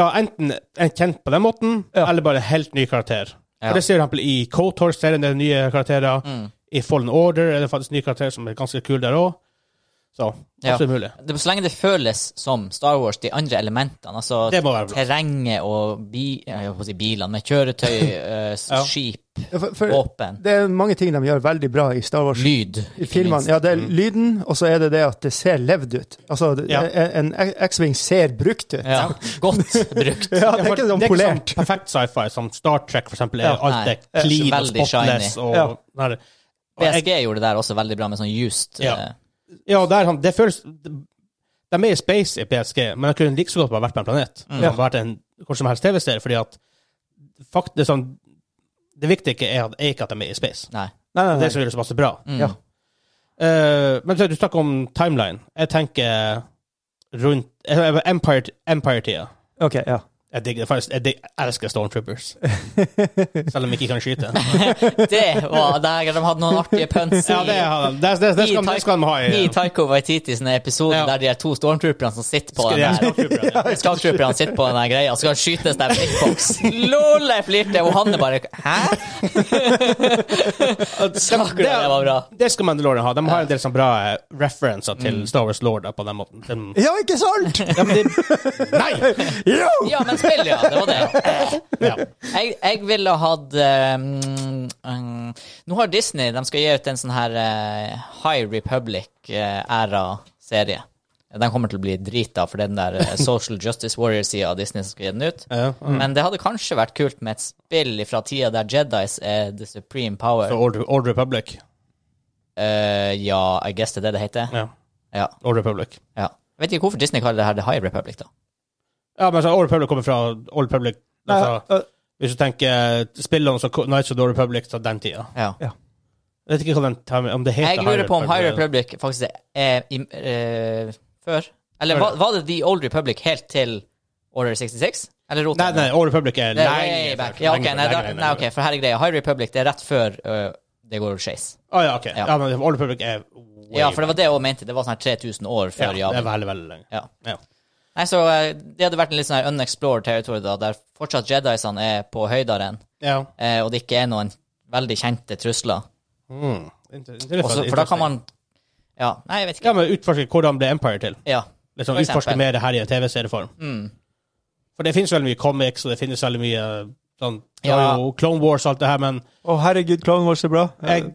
da enten en kjent på den måten, eller bare helt ny karakter. Ja. Mm. Og det ser du for eksempel i Cotor-serien, det er nye karakterer. I Fallen Order er det faktisk nye karakterer som er ganske kule der òg. Så Ja. absolutt mulig. Det, så lenge det føles som Star Wars, de andre elementene, altså Det må være bra. terrenget og bi, ja, jeg holdt på å si bilene, men [laughs] kjøretøy, eh, s- Ja. skip, Ja, for, for, våpen, det er mange ting de gjør veldig bra i Star Wars. lyd I filmene, ja, det er lyden, og så er det det at det ser levd ut. Altså, det- Ja. en en X-Wing ser brukt ut. Ja, godt brukt. [laughs] Ja, det er ikke sånn polert. sånn perfekt sci-fi som Star Trek, for eksempel. Er alt nei. er clean og Veldig spotless. shiny. Og, Ja. Nei, det- og jeg, BSG gjorde det der også veldig bra med sånn used Ja. eh, ja, og der, han- det føles De er i space i PSG, men de kunne like så godt bare vært på en planet. Mm. Ja. Vært en hvor som helst TV-serie, fordi at fakt, det, er sånn, det viktige ikke er, at- er ikke at de er i space. Nei. Mm. Nei, nei, Mm. Det nei. som gjør det så masse bra. Ja. Eh, men så, du snakker om timeline. Jeg tenker rundt eh, Empire- Empire-tida. OK, ja. jeg digger det faktisk. Jeg, dig- jeg elsker [laughs] Stormtroopers. Selv om de ikke kan skyte. [laughs] Det var der de hadde noen artige punts Ja, det, har de. det, det, det, skal, det skal de ha i i Taiko Waititi sine episoder Ja. der de er to stormtrooperne som sitter på Skal de ha den der Stormtroopers, ja. Skalltrooperne sitter på den der greia, så skal han skytes der med blikkboks. Lol, jeg flirte, og han er bare Hæ? Snakker du om det var bra? Det skal Mandalorian ha. De har en del sånne bra eh, referanser Mm. til Star Wars Lord da, på den måten. [laughs] De, Ja, ikke sant?! ja, men [laughs] det, nei! Ja! Ja, men spill, ja. Det var det. Ja. Jeg, jeg ville hatt eh, mm, Nå har Disney De skal gi ut en sånn her eh, High Republic-æra-serie. den kommer til å bli drita for den der eh, Social Justice Warrior-sida av Disney som skal gi den ut. Ja, Men det hadde kanskje vært kult med et spill fra tida der Jedis er the supreme power. Så Old, Old Republic. Eh, ja, I guess det er det det heter. Ja. Ja. Old Republic. ja. Jeg vet ikke hvorfor Disney kaller det her The High Republic, da. Ja, men så Old Republic kommer fra Old Republic altså, Nei, Hvis du tenker eh, spillene som Nights of the Old Republic fra den tida. Ja. Jeg vet ikke hva den termen- om det heter Jeg lurer på om High eller- Republic faktisk er im- eh, før. Eller Før, var, var det The Old Republic helt til Order 66? Eller rotet Nei, jeg nei, det? Old Republic er Det er lenge way før. back. Ja, ok, Lenge før, nei, da, lenge, lenge nei, før. ok, for her er greia. High Republic det er rett før eh, det går skeis. Å ja, ok. Ja. Ja, men Old Republic er way Ja, for det var det jeg også mente. Det var sånn her 3000 år back. før ja, det Japan. er veldig, veldig lenge. Ja. Ja. Nei, så eh, det hadde vært en litt sånn her unexplored territory, da, der fortsatt Jedisene er på høydaren, ja. eh, og det ikke er noen veldig kjente trusler. Mm. Inter- Og så- for da kan man Ja, nei, jeg vet Ja, ikke. men utforske hvordan ble Empire til. Ja. Liksom, For eksempel. Mm. utforske mer det her i en TV-serieform. For det finnes veldig mye comics, og det finnes veldig mye sånn det Ja. er jo Clone Wars og alt det her, men Å, herregud, Clone Wars er bra. jeg,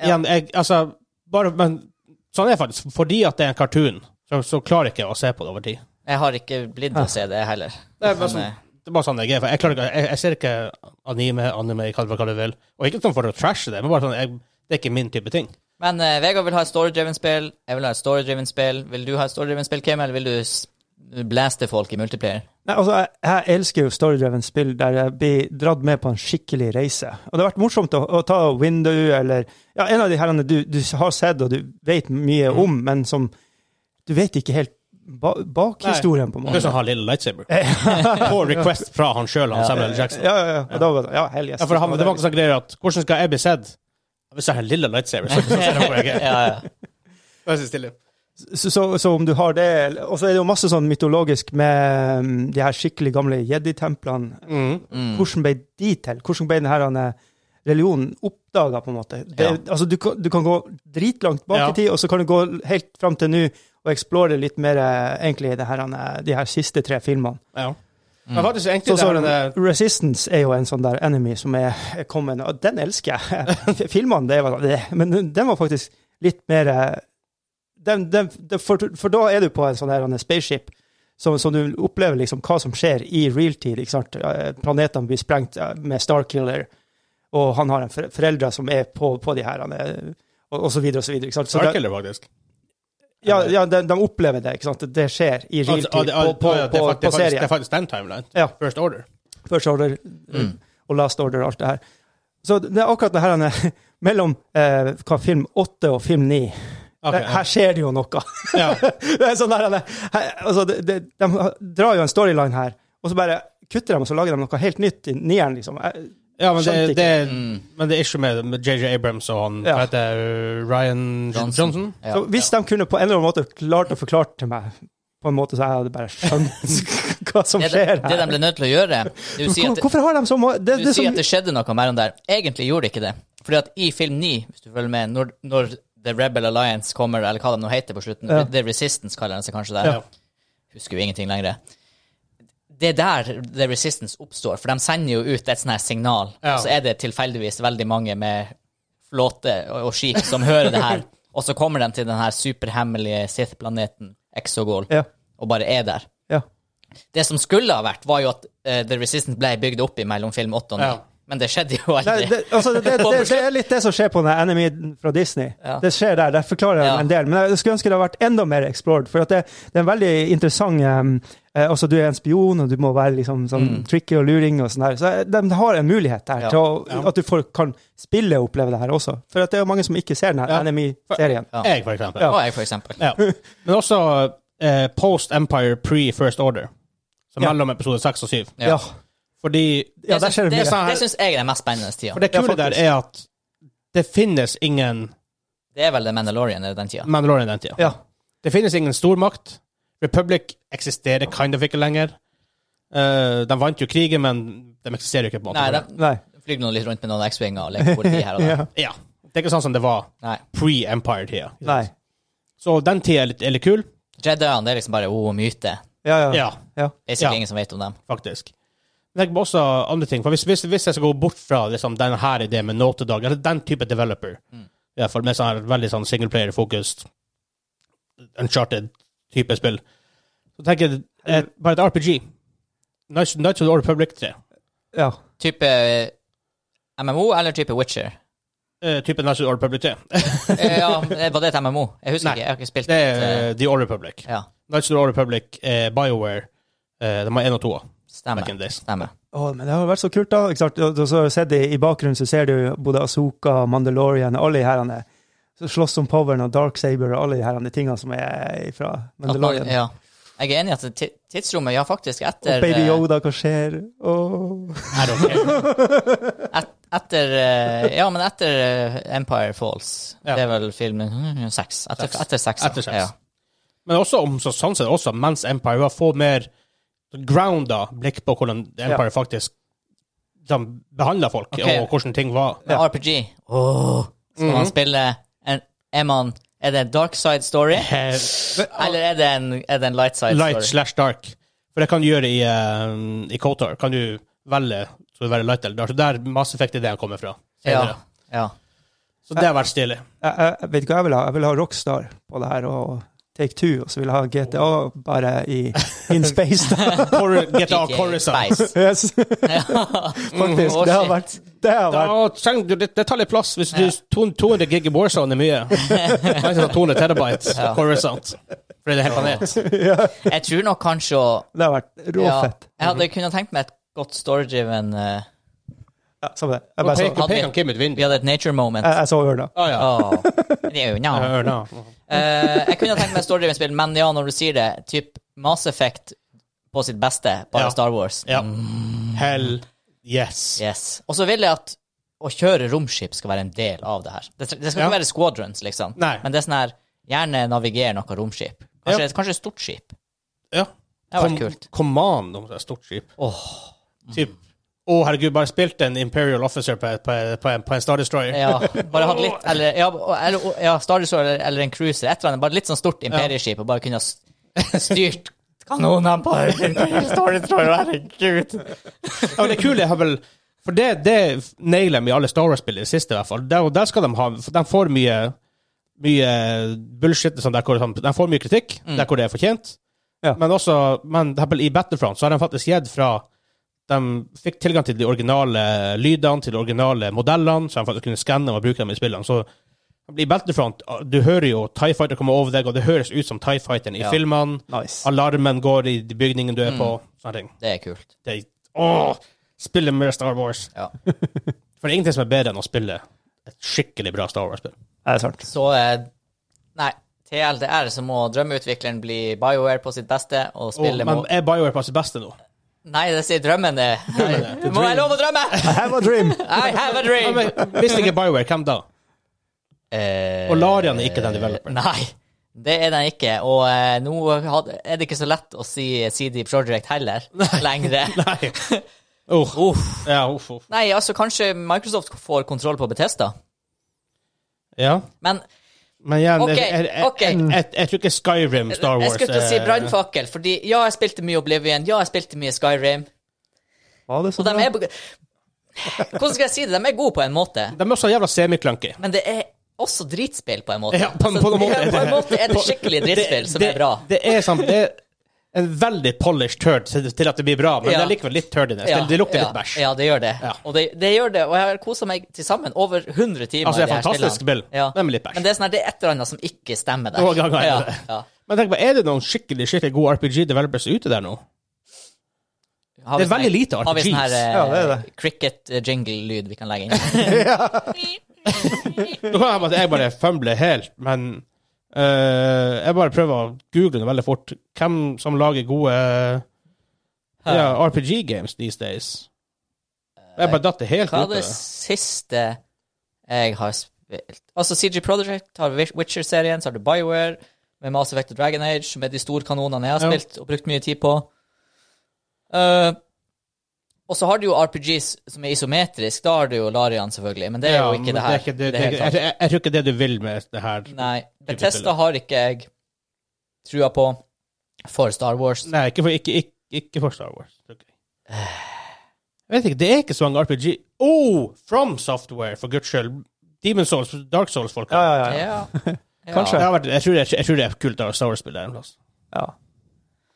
igjen, jeg Altså, bare Men sånn er det faktisk. Fordi at det er en cartoon, så, så klarer jeg ikke å se på det over tid. Jeg har ikke blitt å se det heller. Det er bare Men, sånn, eh, det er bare sånn jeg er. For jeg, klarer ikke, jeg, jeg ser ikke anime, anime, kall det hva du vil. Og ikke sånn for å trashe det, men bare sånn jeg, Det er ikke min type ting. Men eh, Vegard vil ha et storydriven spill. Jeg vil ha et storydriven spill. Vil du ha et storydriven spill, Kim, eller vil du s- blaste folk i multiplayer? Nei, altså, jeg, jeg elsker jo storydreven spill der jeg blir dratt med på en skikkelig reise. Og det har vært morsomt å, å ta Window eller ja, en av de herrene du, du har sett og du vet mye Mm. om, men som du vet ikke helt ba bakhistorien, på en Det er måte. sånn ha lille [laughs] lightsaber. På request fra han sjøl, han Samuel L. Jackson. Ja, ja, ja. Og da var det, ja, hell yes. Ja, for han, det var ikke sånn greier at Hvordan skal jeg bli sett? Hvis jeg har en lille lightsaber, så så ser jeg hvor jeg er. Ja, ja. Vær så stille. så, så, så om du har det eller- Og så er det jo masse sånn mytologisk med mm, de her skikkelig gamle jedi-templene. Mm, Hvordan ble de til? Hvordan ble denne eh, religionen oppdaga, på en måte? Det, Ja. altså, du, kan- du kan gå dritlangt bak Ja. i tid, og så kan du gå helt fram til nå og explore litt mer eh, egentlig det her, eh, de her siste tre filmene. Ja. Men faktisk, egentlig, Så, så, det her, det, Resistance er jo en sånn der enemy som er er kommet, og den elsker jeg. [laughs] Filmene, det var det. Men den var faktisk litt mer eh, den, den, det- for, for da er du på en sånn her en spaceship som, som du opplever liksom hva som skjer i realtid. ikke sant? Eh, Planetene blir sprengt eh, med Starkiller, og han har en fore- foreldre som er på, på de her, han er- og, og så videre og så videre. ikke sant? Så det- Starkiller, faktisk. ja, ja de, de opplever det, ikke sant? Det skjer i Altså, realtid ja, det, ja, på, på, det er faktisk- det på, på er faktisk- serien. Det er faktisk den timeline. Ja. First Order. First Order mm, og Last Order og alt det her. Så det er akkurat det her han er- [laughs] mellom eh, hva, film åtte og film ni. Ok, her, her skjer det jo noe. [laughs] ja. det er sånn der, han er- her, altså, det, det, de drar jo en storyline her, og så bare kutter de, og så lager de noe helt nytt i nieren, liksom. Jeg- ja, men det, Skjønte ikke. det, mm. men det er ikke med med JJ Abrams og han Ja. hva heter det, Ryan Johnson. Ja. Så hvis de kunne på en eller annen måte klart å forklare til meg på en måte så jeg hadde bare [laughs] skjønt hva som Det, de- skjer det de her. ble nødt til å gjøre Du sier Hvor- at det, Hvorfor har de så mye det, du det er sier som- at det skjedde noe mellom der. Egentlig gjorde det ikke det. Fordi at i film 9, hvis du følger med, når, når The Rebel Alliance kommer, eller hva de nå heter på slutten, Ja. The Resistance kaller de seg kanskje der, Ja. husker jo ingenting lenger. Det er der The Resistance oppstår, for de sender jo ut et sånt her signal, Ja. og så er det tilfeldigvis veldig mange med flåte og, og skip som hører det [laughs] her, og så kommer de til den her superhemmelige Sith-planeten Exogol, Ja. og bare er der. Ja. Det som skulle ha vært, var jo at eh, The Resistance ble bygd opp i mellom film 8 og 9. Ja. Men det skjedde jo aldri. Nei, det, altså, det, det, det, det er litt det som skjer på den her Enemy fra Disney. Ja. Det skjer der. Der forklarer jeg Ja. en del. Men jeg skulle ønske det hadde vært enda mer explored. For at det, det er en veldig interessant um, eh, Altså, du er en spion, og du må være liksom sånn tricky og luring og sånn der. Så eh, de har en mulighet der Mm. Ja. til å, at du får, kan spille og oppleve det her også. For at det er jo mange som ikke ser den her Ja. Enemy-serien. Ja. Jeg, for eksempel. Ja. Og jeg, for eksempel. Ja. Men også eh, Post Empire pre First Order, som Ja. mellom episode 6 og 7. Ja. Ja. Fordi Ja, der skjer det det, mye. Sånn det syns jeg er den mest spennende tida. For det kule Ja, der faktisk. er at det finnes ingen Det er vel The Mandalorian i den tida. Mandalorian den tida. Ja. Det finnes ingen stormakt. Republic eksisterer kind of ikke lenger. Eh, de vant jo krigen, men de eksisterer jo ikke på en måte. Nei, de Nei. flyr nå litt rundt med noen X-winger og leker politi her og der. [laughs] Ja. Ja. Det er ikke sånn som det var Nei. pre-Empire-tida. Nei. Så den tida er litt, er litt kul. Jediene, det er liksom bare oh, myte. Ja, ja. Ja, ja. Basically Ja. ingen som vet om dem. faktisk. Men tenk på også andre ting. For hvis, hvis, hvis jeg skal gå bort fra liksom, den her ideen med Notedag, eller den type developer, i hvert fall med sånn her veldig sånn singleplayer-fokust, uncharted-type spill, så tenker jeg eh, bare et RPG. Nights Nights of the Old Republic 3. ja. Type eh, MMO eller type Witcher? Eh, type Nights of the Old Republic 3. Eh, ja, var det et MMO? Jeg husker Nei. ikke, jeg har ikke spilt Det er eh, eh, The Old Republic. Ja, Nights of the Old Republic, eh, BioWare, eh, de har én og to. Back in stemmer. the days. stemmer. Å, men det har vært så kult, da. Ikke sant? Og- og så ser du, I bakgrunnen så ser du både Asoka, Mandalorian, alle de herrene som slåss om poweren og Dark Saber og alle de herrene tingene som er fra At man, Mandalorian. ja. Jeg er enig i at ti- tidsrommet, ja, faktisk, etter Og Baby eh, [laughs] Yoda, hva skjer? Åh. I don't care. Et, etter eh, Ja, men etter eh, Empire Falls. Ja. Det er vel filmen mm, seks. Etter Seks. seks. Etter seks, Etter seks. Ja. Men også om så, sånn sett, også mens Empire var få mer grounda blikk på hvordan Empire faktisk de behandla folk, Ok. og hvordan ting var. Men RPG Åh, Skal Mhm. man spille en, Er man Er det en dark side story? Eh, Eller er det en, er det en light side light story? slash dark. For det kan du gjøre i, eh, i KOTOR. Kan du velge skal det være light eller dark. Så der Mass Effect er det han kommer fra. Ja. senere. ja. Så det har vært stilig. Jeg, jeg, jeg vet ikke hva jeg vil ha. Jeg vil ha Rockstar på det her, og Take Two, og så vil jeg ha GTA bare i in [laughs] space, [laughs] da. Cor- GTA GTA Coruscant. [laughs] Spice. Yes, faktisk. Å, det har Mm, shit. vært Det har vært Da trenger du litt, det tar litt plass. Hvis du, 200 gig i Warzone er mye. [laughs] Kanskje sånn 200 terabyte Ja. Coruscant. For det er en hel planet. Jeg tror nok kanskje å Det har vært ja, råfett. Jeg hadde kunnet tenkt meg et godt story-driven eh, Ja, samme det. Jeg, Nå bare peker så, jeg, Altså, Hadde vi- peker Kim ut vinduet. Vi hadde et nature moment. jeg så ørna. Å Ah, ja. Åh, det er jo nja. [laughs] Jeg hører nå. Eh, jeg kunne tenkt meg et story-driven spill, men ja, når du sier det, typ Mass Effect på sitt beste, Ja. bare Star Wars. Ja. Hell yes. Yes. Og så vil jeg at å kjøre romskip skal være en del av det her. Det, det skal Ja. ikke være squadrons, liksom. Nei. Men det er sånn her Gjerne navigere noe romskip. Kanskje, kanskje et stort skip. Ja. Det hadde vært kult. Command om det er stort skip. Åh. Typ. Å, herregud, bare spilt en Imperial Officer på, på, på, en, på en Star Destroyer. Ja, bare hatt litt Eller, ja, eller ja, Star Destroyer eller, eller en cruiser. Et eller annet. Bare litt sånn stort imperieskip, og bare kunne ha s- [laughs] styrt kanonene på Imperial Star Destroyer. Herregud. Ja, men det kule er vel For det, det nailer de i alle Star Wars-spill i det siste, i hvert fall. Der, der skal de ha for De får mye Mye bullshit. Sånn der, hvor, sånn, de får mye kritikk der hvor det er fortjent. Ja. Men også Men for eksempel i Battlefront så har de faktisk gitt fra de fikk tilgang til de originale lydene, til de originale modellene, så de faktisk kunne skanne dem og bruke dem i spillene. Så i Battlefront, du hører jo Tie Fighter komme over deg, og det høres ut som Tie Fighteren i Ja. filmene. Nice. Alarmen går i bygningen du er på. Sånne ting. Det er kult. Det er, åh, spille mer Star Wars. Ja. For det er ingenting som er bedre enn å spille et skikkelig bra Star Wars-spill. Det er sant. Så eh, Nei. TLDR så må drømmeutvikleren bli BioWare på sitt beste og Og- spille Men mot- er BioWare på sitt beste nå? Nei, det sier drømmen [laughs] det. Nei, Må jeg lov å drømme? Have a dream! I have a Ja, dream! men Hvis det ikke er BioWare, hvem da? Eh, Og Larian er ikke den developeren. Nei. Det er den ikke, og eh, nå had- er det ikke så lett å si CD Projekt heller, lengre. [laughs] Nei. Uff. Uff. Ja, uff, uff. Nei, altså kanskje Microsoft får kontroll på Bethesda, Ja. men Men igjen, Ok, jeg, jeg, jeg, ok. jeg, jeg, jeg tror ikke Skyrim, Star Wars jeg skulle til å si eh, brannfakkel, fordi ja, jeg spilte mye Oblivion, ja, jeg spilte mye Skyrim, Var det sånn, og så de bra? er Hvordan skal jeg si det? De er gode på en måte, De er også jævla semiklanky. men det er også dritspill på en måte. Ja, på en- på en måte er på en det- måte er det skikkelig dritspill som er bra. Det er sant. Det er en veldig polished turd til til at det blir bra, men Ja. det er likevel litt turdiness. Det, det lukter ja, litt bæsj. Ja, det gjør det. Ja. Og det, det gjør det, og jeg har kosa meg til sammen over 100 timer. Altså, det er i her fantastisk spillene. spill, men litt bæsj. Men det er, sånn her, det er et eller annet som ikke stemmer der. Å, ja, ja, ja. Ja. Men tenk på, er det noen skikkelig skikkelig gode RPG-developers ute der nå? Har Det er vi sånn her- veldig lite Har vi sånn her RPGs. Ja, det er eh, cricket-jingle-lyd vi kan [laughs] legge inn? Hm. Nå kan jeg bare, jeg bare fumble helt, men eh, jeg bare prøver å google det veldig fort. Hvem som lager gode ja, RPG-games these days? Jeg bare datt det helt Eh, Hva ut av er det det. siste jeg har spilt Altså, CG Project har Witch- Witcher-serien, så har du Bioware, med Mass Effect og Dragon Age, med de store kanonene jeg har Ja. spilt og brukt mye tid på. Eh, og så har du jo RPGs som er isometrisk. Da har du jo Larian, selvfølgelig, men det er Ja, jo ikke men det her. er ikke det- i det det er hele ikke- tatt. jeg, jeg, jeg tror ikke det du vil med det her. Nei. spill, Betesta ja. har ikke jeg trua på for Star Wars. Nei, ikke for, ikke, ikke, ikke for Star Wars. tror ikke jeg. Eh. Jeg vet ikke, det er ikke så mange RPG Oh! From Software, for guds skyld. Demon Souls, Dark Souls-folk. Ja, ja, ja. [laughs] Ja. Kanskje. Det har vært- Jeg, tror det- jeg tror det er kult å ha Star Wars-spill der en plass. ja.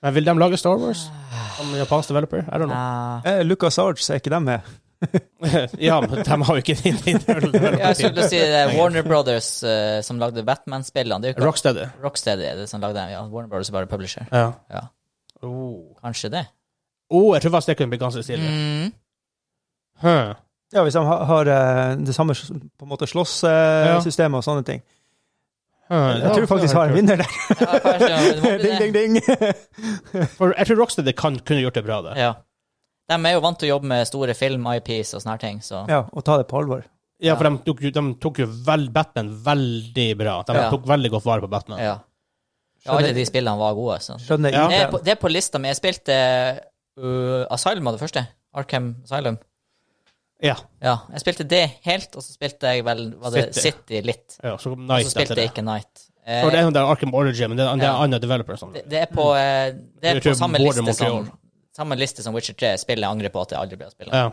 Men vil de lage Star Wars? Ah. Som japansk developer? I don't know. Ja. Eh, Lucas Arts, er ikke de med? [laughs] ja, men de har jo ikke din internal Ja, Ah. [laughs] jeg developer. skulle til å si [laughs] det er Warner Brothers eh, som lagde Batman-spillene. Det er jo ikke Rocksteady. Rocksteady er det som lagde dem. Ja, Warner Brothers er bare publisher. Ja. Ja, Oh. kanskje det. oh, jeg tror faktisk det kunne bli ganske stilig. Mm. Huh. Ja, hvis de har, har eh, det samme s- på en måte Ja. slåsssystemet og sånne ting. Huh, Jeg ja, tror det faktisk var har en kult. vinner der. Ja, kanskje det [laughs] må bli ding, ding, det. ding. For Jeg tror Rocksteady kan, kunne gjort det bra, det. Ja. De er jo vant til å jobbe med store film-IPs og sånne her ting, så ja, og ta det på alvor. Ja, for de tok, jo- de tok jo vel, Batman veldig bra. De Ja. tok veldig godt vare på Batman. ja. ja alle de spillene var gode. Så. Skjønner Ja. ikke. Det, er på, det er på lista mi. Jeg spilte uh, Asylum var det første. Arkham Asylum. Ja. Ja, jeg spilte det helt, og så spilte jeg vel var det City. City, litt. ja så Og nice så spilte jeg ikke Night. Eh, For det er jo der Arkham Origin, men det er, det er Ja. andre developer som Det, det er på, eh, det er Jeg på tror samme, Border liste Montreal. som, samme liste som Witcher 3. Spillet jeg angrer på at jeg aldri ble å spille. Ja.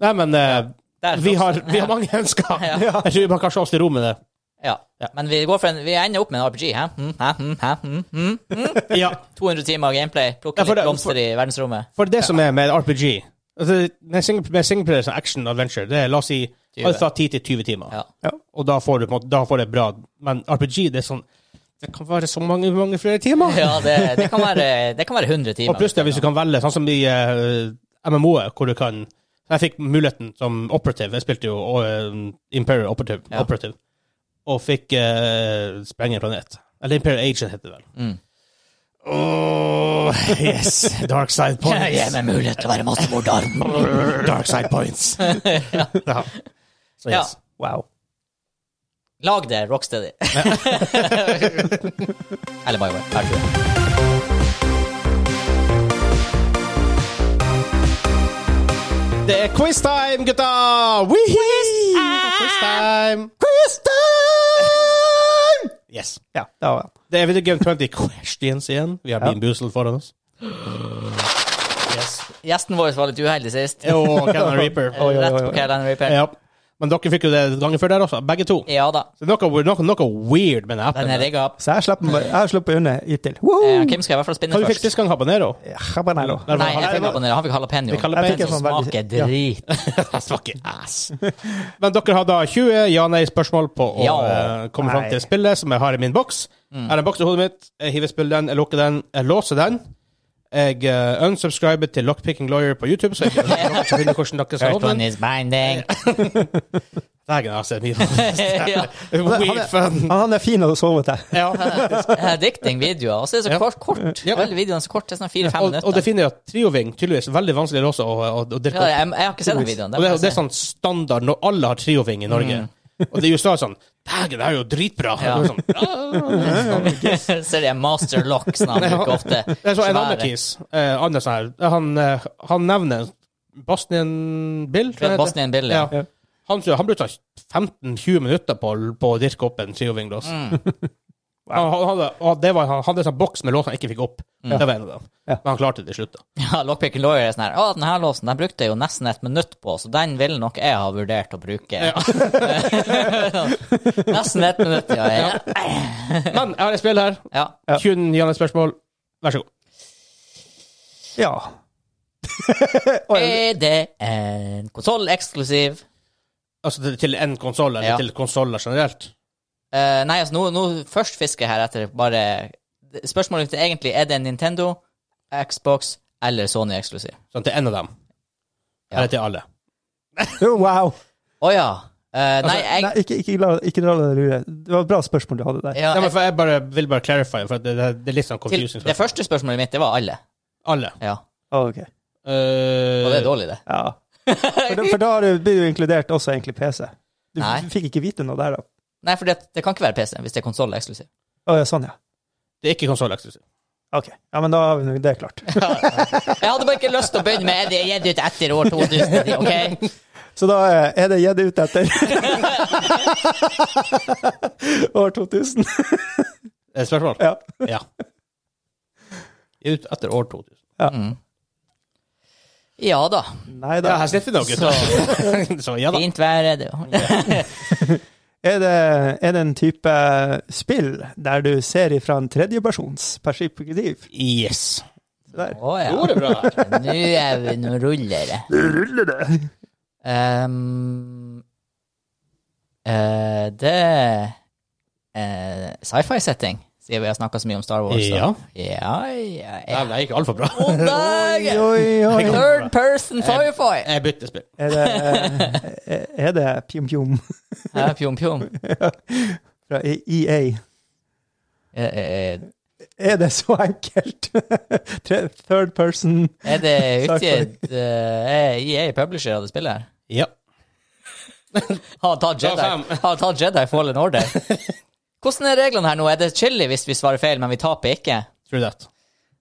Nei, men eh, Der, vi, har, også- vi har [laughs] mange ønsker. Ja. Jeg tror vi bare kan slå oss til ro med det. Ja. Ja. Men vi, går for en, vi ender opp med en RPG. Hæ? Hm, hæ, hm, hæ, hm, hm. Ja. 200 timer gameplay, plukke Ja, for litt det- blomster for- i verdensrommet. For det som er med RPG altså, Med single- med singleplayer som action adventure, det er la oss si alt fra 10 til 20 timer. Ja. Og da får du på en måte, da får du det bra. Men RPG, det er sånn Det kan være så mange, mange flere [laughs] timer. Ja, det, det, kan være, det kan være 100 timer. Og pluss det, hvis du kan velge, sånn som i eh, MMO-et, hvor du kan Jeg fikk muligheten som operativ, jeg spilte jo eh, Imperial operative, Ja. operative og fikk eh, sprenge en planet. Eller Imperial Agent heter det vel. Mm. Åh, yes, [laughs] dark side Ja, points. ja, med mulighet til å være massemorder. [laughs] dark side [laughs] points. ja. Så Ja. yes. Wow. Lag det, Rocksteady. [laughs] Eller BioWare. Vær så god. Det er quiz-time, gutta! Quiz-time! Quiz-time! Yes. Ja, det var det. Det er Video Game 20 Questions igjen. Vi har Bean Boozled foran [laughs] oss. Yes. Gjesten vår var litt uheldig sist. [laughs] Og Cannon [laughs] Reaper. Oi, oi, oi, Rett oi. på Caroline Reaper. Ja. Men dere fikk jo det gangen før der også, begge to. Ja da, Så det er noe, noe, noe weird med den appen. den er rigga opp. Så jeg slapp meg- jeg har sluppet unna hittil. Woohoo! Eh, Kim skal i hvert fall spinne Hva du fikk først. sist gang? Habanero? Ja, habanero. Der var Nei, jeg habanero. tenker på den. Han fikk jalapeno. Vi kaller Den begge som for veldig- smaker drit. Jeg snakker ass. Men dere har da 20 ja-nei-spørsmål på å Ja. Mm. eh, komme fram Nei. til spillet som jeg har i min boks. Er det en boks i hodet mitt? Jeg hiver spillet den, jeg lukker den, jeg låser den. Jeg eh, unsubscriber til Lockpicking Lawyer på YouTube, [laughs] så jeg kan finne hvordan dere skal First åpne one den. is binding. Dægen, altså, [laughs] det er ja. mye Han Weird er- fun. Han, han er fin å sove til. Ja. Diktingvideoer. Og så er det så Ja. kort. kort. Ja. Alle videoene er så korte. Det er sånn fire-fem Og, og det minutter. finner jeg at trioving tydeligvis er veldig vanskelig også å, å, å Ja, dirke opp. jeg, jeg har ikke sett den videoen. Og det, må jeg det er se. sånn standard når alle har trioving i Norge. [laughs] Og det er USA sånn Dægen, det her er jo dritbra! Mm. Ja. Og det er Sånn, ja. sånn- [laughs] Ser jeg Master Locks når han bruker ofte. Det er sånn så en Svære. annen kis. Eh, andre sånn her. Han, eh, han nevner Bosnian Bill. tror jeg det heter. Bosnian Bill, ja. Ja. Han, han brukte sånn 15-20 minutter på, på å dirke opp en Sioving-lås. Mm. [laughs] Han, han, hadde, og det var, han hadde en sånn boks med låser han ikke fikk opp. Mm. Det var en av dem. Ja. Men han klarte det til slutt. da. Ja, Lockpick Lawyer er sånn her Å, den her låsen den brukte jeg jo nesten et minutt på, så den ville nok jeg ha vurdert å bruke. [laughs] nesten et minutt, ja. Jeg. Men jeg har et spill her. ja. Kun gi han et spørsmål. Vær så god. Ja. Er det en konsolleksklusiv? Altså til- til en konsoll, eller Ja. til konsoller generelt. Eh, nei, altså, nå, nå først fisker jeg her etter bare Spørsmålet mitt er egentlig er det en Nintendo, Xbox eller Sony-eksklusiv. Sånn til en av dem. Ja. Eller til alle. Jo, Wow. Å ja. Eh, Altså, nei, jeg Nei, ikke, ikke, la, ikke la deg lure. Det var et bra spørsmål du hadde der. Nei, ja, men jeg, for jeg bare, vil bare clarify, for det, det, det er litt sånn til, confusing. Det første spørsmålet mitt, det var alle. Alle. Ja. Ah, ok. Eh, Og det er dårlig, det. [laughs] Ja. For, da- for da har du- blir du inkludert også egentlig PC. Du Nei. f- fikk ikke vite noe der, da. Nei, for det, det kan ikke være PC hvis det er konsolleksklusiv. Å, ja, sånn, ja. det er ikke konsolleksklusiv. Ok. Ja, men da har vi nå det klart. [laughs] Jeg hadde bare ikke lyst til å begynne med Er det gitt ut etter år 2010, OK? Så da eh, er det gitt ut etter [laughs] år Er 2000. det et Eh, [laughs] spørsmål? Ja. Ja. Ut etter år 2000. Ja da. Nei Ja, da. her sitter vi nå, gutter. [laughs] Så ja da. Fint vær er det jo. Er det, er det en type spill der du ser ifra en tredjepersons perspektiv? Yes. Se Der. Å ja. Gjorde [laughs] bra her. Nå er vi Nå ruller det. Ruller det! Ehm, eh, det eh, Sci-fi-setting, siden vi har snakka så mye om Star Wars. så- Ja. ja, ja, Nei, ja. det gikk altfor bra. God Oi, dag! oi, oi. Third person sci-fi! [laughs] Jeg bytter spill. Er det, eh, er det Pjom Pjom Ja, Pjom pjom. fra EA? Eh, eh, Er det så enkelt? [laughs] Tre- Third person Er det utgitt eh, EA Publisher av det spillet her? Ja. Har han tatt Jedi, Ta fem. har han tatt Jedi Fallen Order? Hvordan er reglene her nå? Er det chili hvis vi svarer feil, men vi taper ikke? True that.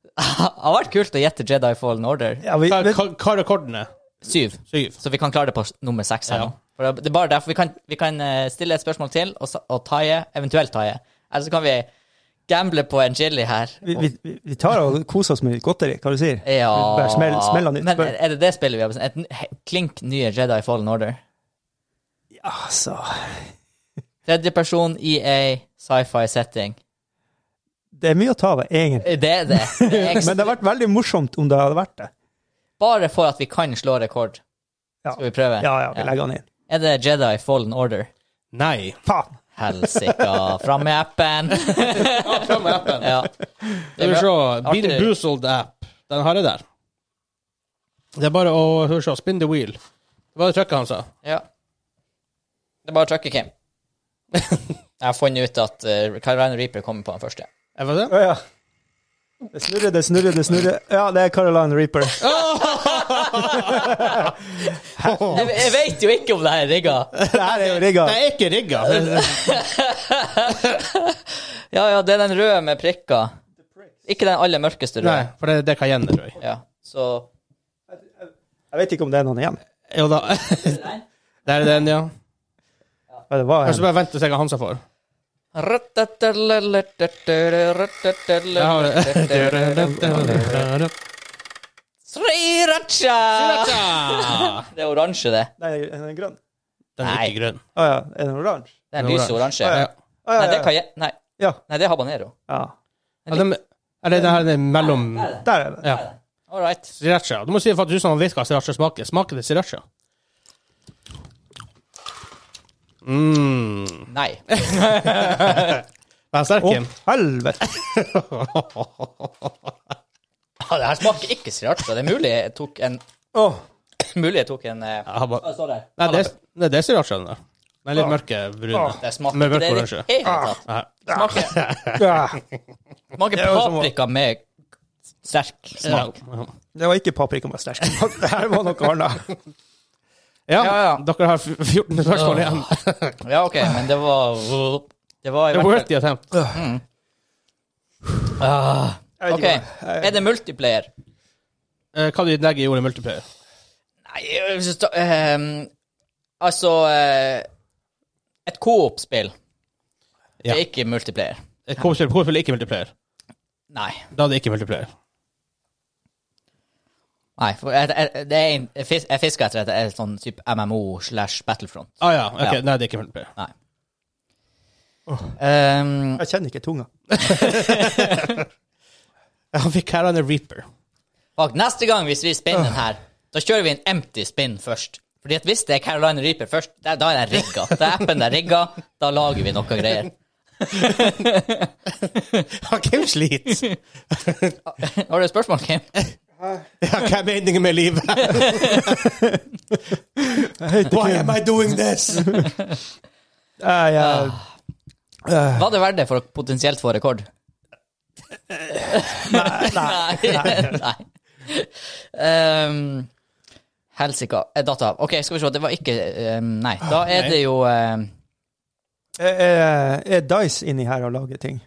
Det har vært kult å gjette Jedi Fallen Order. ja, vi, Hva men, hva er rekorden? er? Syv. Syv. Så vi kan klare det på s- nummer seks her Ja. nå. For det det er bare derfor vi kan, vi kan eh, stille et spørsmål til og, sa- og taie, eventuelt taie. Eller så kan vi gamble på en chili her. vi, vi, vi tar og koser oss med litt godteri, hva du sier? Ja Bare smell, smell han ut. Men er Bare- er det det spillet vi har bestemt? Et n- he- klink nye Jedi Fallen Order. Altså Tredje person, EA, sci-fi setting. Eh, Det er mye å ta av, egentlig. Det er det. det [laughs] er Men det hadde vært veldig morsomt om det hadde vært det. Bare for at vi kan slå rekord. Ja. Skal vi prøve? Ja, ja, vi legger han inn. Er det Jedi Fallen Order? Nei. Faen! Helsika, fram med [laughs] appen! Fram med appen. ja. Skal vi se. Bean Artig. Boozled app. Den har jeg der. Det er bare å hør så, spin the wheel. Det var det trykket han sa. ja. Det er bare å trykke, Kim. [laughs] Jeg har funnet ut at uh, Carolina Reaper kommer på den første. Er det det? Å ja. Det snurrer, det snurrer, det snurrer. Ja, det er Caroline Reaper. Jeg, jeg vet jo ikke om det her er rigga. Det her er jo rigga. Det er ikke rigga. [laughs] Ja, ja, det er den røde med prikker. Ikke den aller mørkeste Nei, røde. for det, det kan gjende, tror jeg. Ja, så Jeg vet ikke om det er noen igjen. Jo [laughs] da. Der er den, ja. Ja, det var Kanskje en. bare vent og se hva han sa for. [laughs] Sriracha! Ah, Det er oransje, det. Nei, er den grønn? den er ikke grønn. Å ja, er den oransje? Det er en Det er lys oransje. Ja, Å, ja, Nei, det ja, kan jeg Nei, ja. nei det er habanero. ja. Ja, den, eller den her den er mellom Der er den. Ja. All right. Sriracha. Du må si for at du som vet hva sriracha smaker. Smaker det sriracha? Mm. [laughs] Nei. Vær sterk, Å, Kim. helvete! Ja, det her smaker ikke sriracha. Det er mulig jeg tok en Å, Mulig jeg tok en eh, Jeg har bare- Hva står der? Nei, det Altså, er, nei, det er sriracha, den der. Den er litt mørke brune. Det smaker Med ikke mørk det i oransje. det hele tatt. Nei. Smaker, Ah, ja. [laughs] smaker jo som å- paprika med sterk smak. [laughs] Det var ikke paprika med sterk smak. Det her var noe annet. Ja, Ja, ja. Dere har f- 14 spørsmål [laughs] igjen. Ja, OK, men det var Det var i Det er hvert worth the attempt. fall ah, Jeg vet OK. ikke Er det multiplayer? Eh, Hva du legger i ordet multiplayer? Nei, jeg synes da- ehm, Altså eh, Et coop-spill. Det Ja. er ikke multiplayer. Eh, Hvorfor hvorfor ikke multiplayer? Nei. Da er det ikke multiplayer. Nei, for jeg, jeg, det er en, jeg fis- jeg fisker etter et, et sånn type MMO slash Battlefront. Ah ja, ok. Ja. Nei, det er ikke multiplayer. Nei. Ehm, Jeg kjenner ikke tunga. [laughs] Han fikk her en reaper. fuck, neste gang hvis vi spinner den her, da kjører vi en empty spin først. Fordi at hvis det er Carolina Reaper først, da, da er den rigga. Da er appen der rigga, da lager vi noe greier. [laughs] [laughs] Ja, Hvem sliter? Har du et spørsmål, Kim? Ja, hva er meningen med livet? [laughs] Why am I doing this? Jeg, jeg, Var det verdt det for å potensielt få rekord? [laughs] [laughs] Nei. Nei. Ehm, Helsika. Eh, Data. OK, skal vi se. Det var ikke ehm, Nei. Da er Nei. det jo ehm, er, er Dice inni her og lager ting?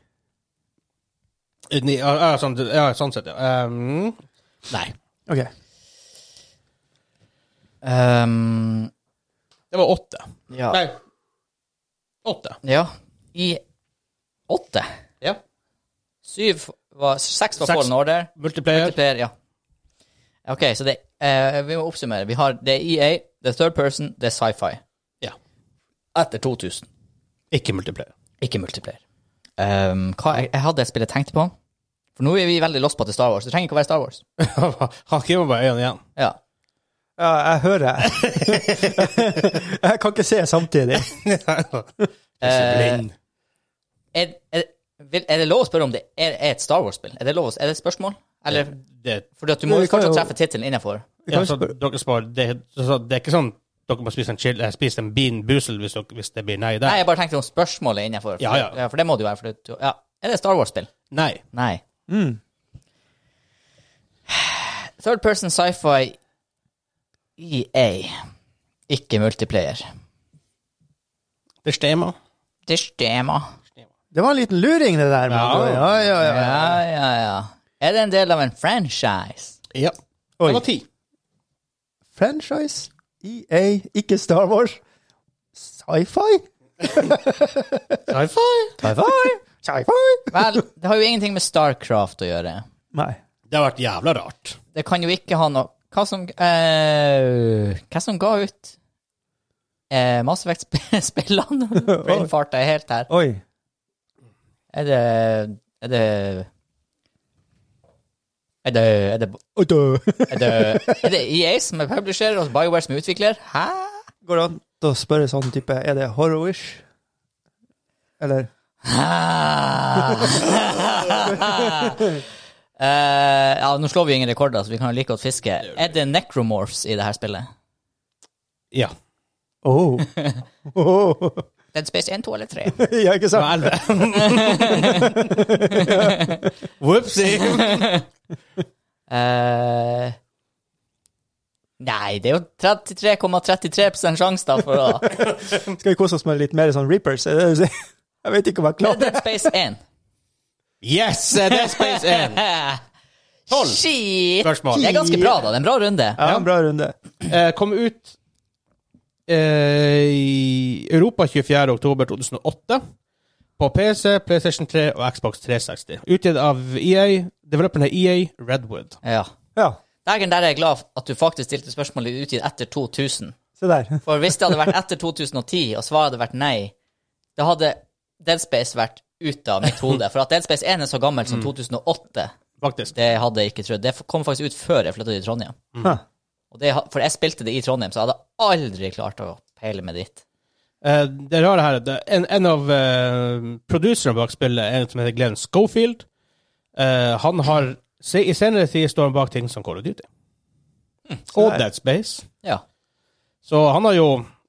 [laughs] Ni- Ja, ja, sånn, ja, sånn sett, ja. Um, nei. OK. ehm, Det var åtte. Ja. Nei. Åtte. ja. I åtte. Ja. Syv var Seks var Seks. Fallen Order. Multiplayer. Multiplayer, ja. OK, så det eh, Vi må oppsummere. Vi har det er EA, det er third person, det er sci-fi. Ja. Etter 2000. Ikke multiplayer. Ikke multiplayer. Ehm, hva, jeg, jeg hadde et spill jeg tenkte på. For nå er vi veldig lost på at det er Star Wars. Det trenger ikke å være Star Wars. [laughs] Han skriver bare øynene igjen. Ja. Ja, jeg [laughs] hører. jeg kan ikke se samtidig. Eh, Er, er, vil, er det lov å spørre om det er, er et Star Wars-spill? Er det lov å, er det et spørsmål? Eller, det, fordi at du må Vi jo kan fortsatt jo- treffe tittelen innenfor. ja, kan så dere spar, det, så det er ikke sånn dere må spise en, chill, eh, spise en bean boozle hvis, dere- hvis det blir nei Nei, der. jeg bare tenkte om spørsmålet er innenfor. Ja, ja. For det må det jo være. For det, ja. Er det et Star Wars-spill? Nei. Nei. Mm. Third person sci-fi EA. Ikke multiplayer. Det stemmer. Det stemmer. Det var en liten luring, det der. Ja. Margot. Ja, ja, ja. Ja, ja, ja. Er det en del av en franchise? Ja. Oi. Det var ti. Franchise, EA, ikke Star Wars. Sci-fi? Sci-fi. Sci-fi? Sci-fi? [laughs] Vel, det har jo ingenting med Starcraft å gjøre. Nei. Det har vært jævla rart. Det kan jo ikke ha noe Hva som eh, Hva som ga ut uh, Mass [laughs] Effect-spillene? [laughs] Brainfarta er helt her. Oi. Er det Er det er det, er, det, Oi, da. er, det, er det EA som er publisher og BioWare som er utvikler? Hæ? [laughs] Går det an å spørre sånn type Er det horror-ish? Eller [laughs] Eh, ja, nå slår vi jo ingen rekorder, så vi kan jo like godt fiske. Er det necromorphs i det her spillet? Ja. [laughs] Oh. oh. [laughs] Dead Space 1, 2 eller 3? Ja, ikke [laughs] sant? Elleve. Whoopsie. [laughs] Eh, nei, det er jo 33,33 sjanse da for å Skal vi kose oss med litt mer sånn Reapers? Er det det du sier? [laughs] Jeg vet ikke om jeg klarer Dead Space 1. Yes! eh, Dead Space 1. Tolv. Eh, Shit! Spørsmål. Det er ganske bra, da. Det er en bra runde. Ja, en bra runde. Eh, kom ut eh, i Europa 24. oktober 2008. På PC, PlayStation 3 og Xbox 360. Utgitt av E EA. Developeren er EA E Redwood. Ja. Ja, Dagen der er jeg glad at du faktisk stilte spørsmålet utgitt etter 2000. se der. For hvis det hadde vært etter 2010, og svaret hadde vært nei, da hadde Dead Space vært ut av mitt hode. For at Dead Space 1 er så gammelt Mm. som 2008, Faktisk. det hadde jeg ikke trodd. Det kom faktisk ut før jeg flytta til Trondheim. Ha. Og det, for jeg spilte det i Trondheim, så jeg hadde aldri klart å peile meg dit. Eh, det rare her er at det- en, en av eh, produserne bak spillet er en som heter Glenn Schofield. Eh, han har se, I senere tid står han bak ting som Call of Duty. Og Dead Space. Ja. Så han har jo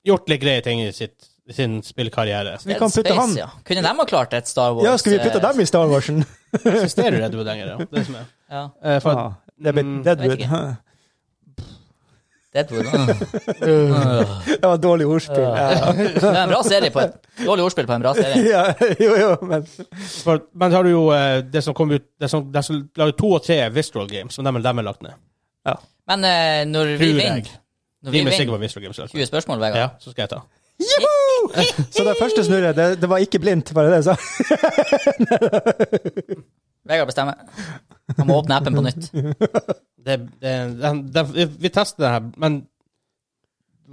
gjort litt greie ting i sitt, sin spillkarriere. Vi kan putte han ja. Kunne de ha klart et Star Wars eh, Ja, skal vi putte dem i Star Warsen? Eksisterer Redwood lenger? Ja. Det er det som er. Ja. Eh, for at Ja, det blir Mm, Deadwood. vet ikke. Hæ? Deadpool. ah. [laughs] Det var dårlig ordspill. Ja. Det er en bra serie på et dårlig ordspill på en bra serie. [laughs] Ja, jo, jo, men For, men så har du jo eh, det som kom ut Det som, det som lager to og tre er Visceral Games, men dem dem er lagt ned. Men eh, når vi Tror jeg. vinner Når Vi vi er sikre vinner på Visceral Games. altså. 20 spørsmål, Vegard. Ja, så skal jeg ta. Så det første snurret, det, det var ikke blindt, bare det jeg sa. Vegard bestemmer. Han må åpne appen på nytt. Det, det, den, den, vi- vi tester den her, men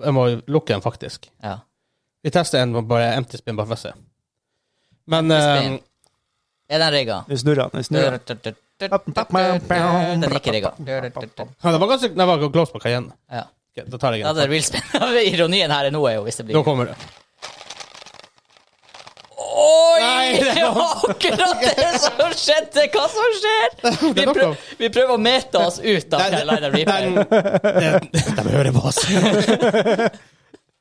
jeg må jo lukke den, faktisk. Ja. Vi tester en med bare empty spin, bare for å se. Men Empty spin. eh, Er den rigga? Nå snurrer han. Nå snurrer han. Den er ikke rigga. ja, det var ganske det var close på Cayenne. Ja. Ok, da tar jeg Ja, det den. er real spin. [laughs] Ironien her er nå er jo hvis det Da blir [laughs] kommer det. Oi! Nei, det det var akkurat det som skjedde! Hva som skjer? Vi, nok prøv, av. vi prøver å mete oss ut av Nei, den line of replay. De hører på [laughs] oss.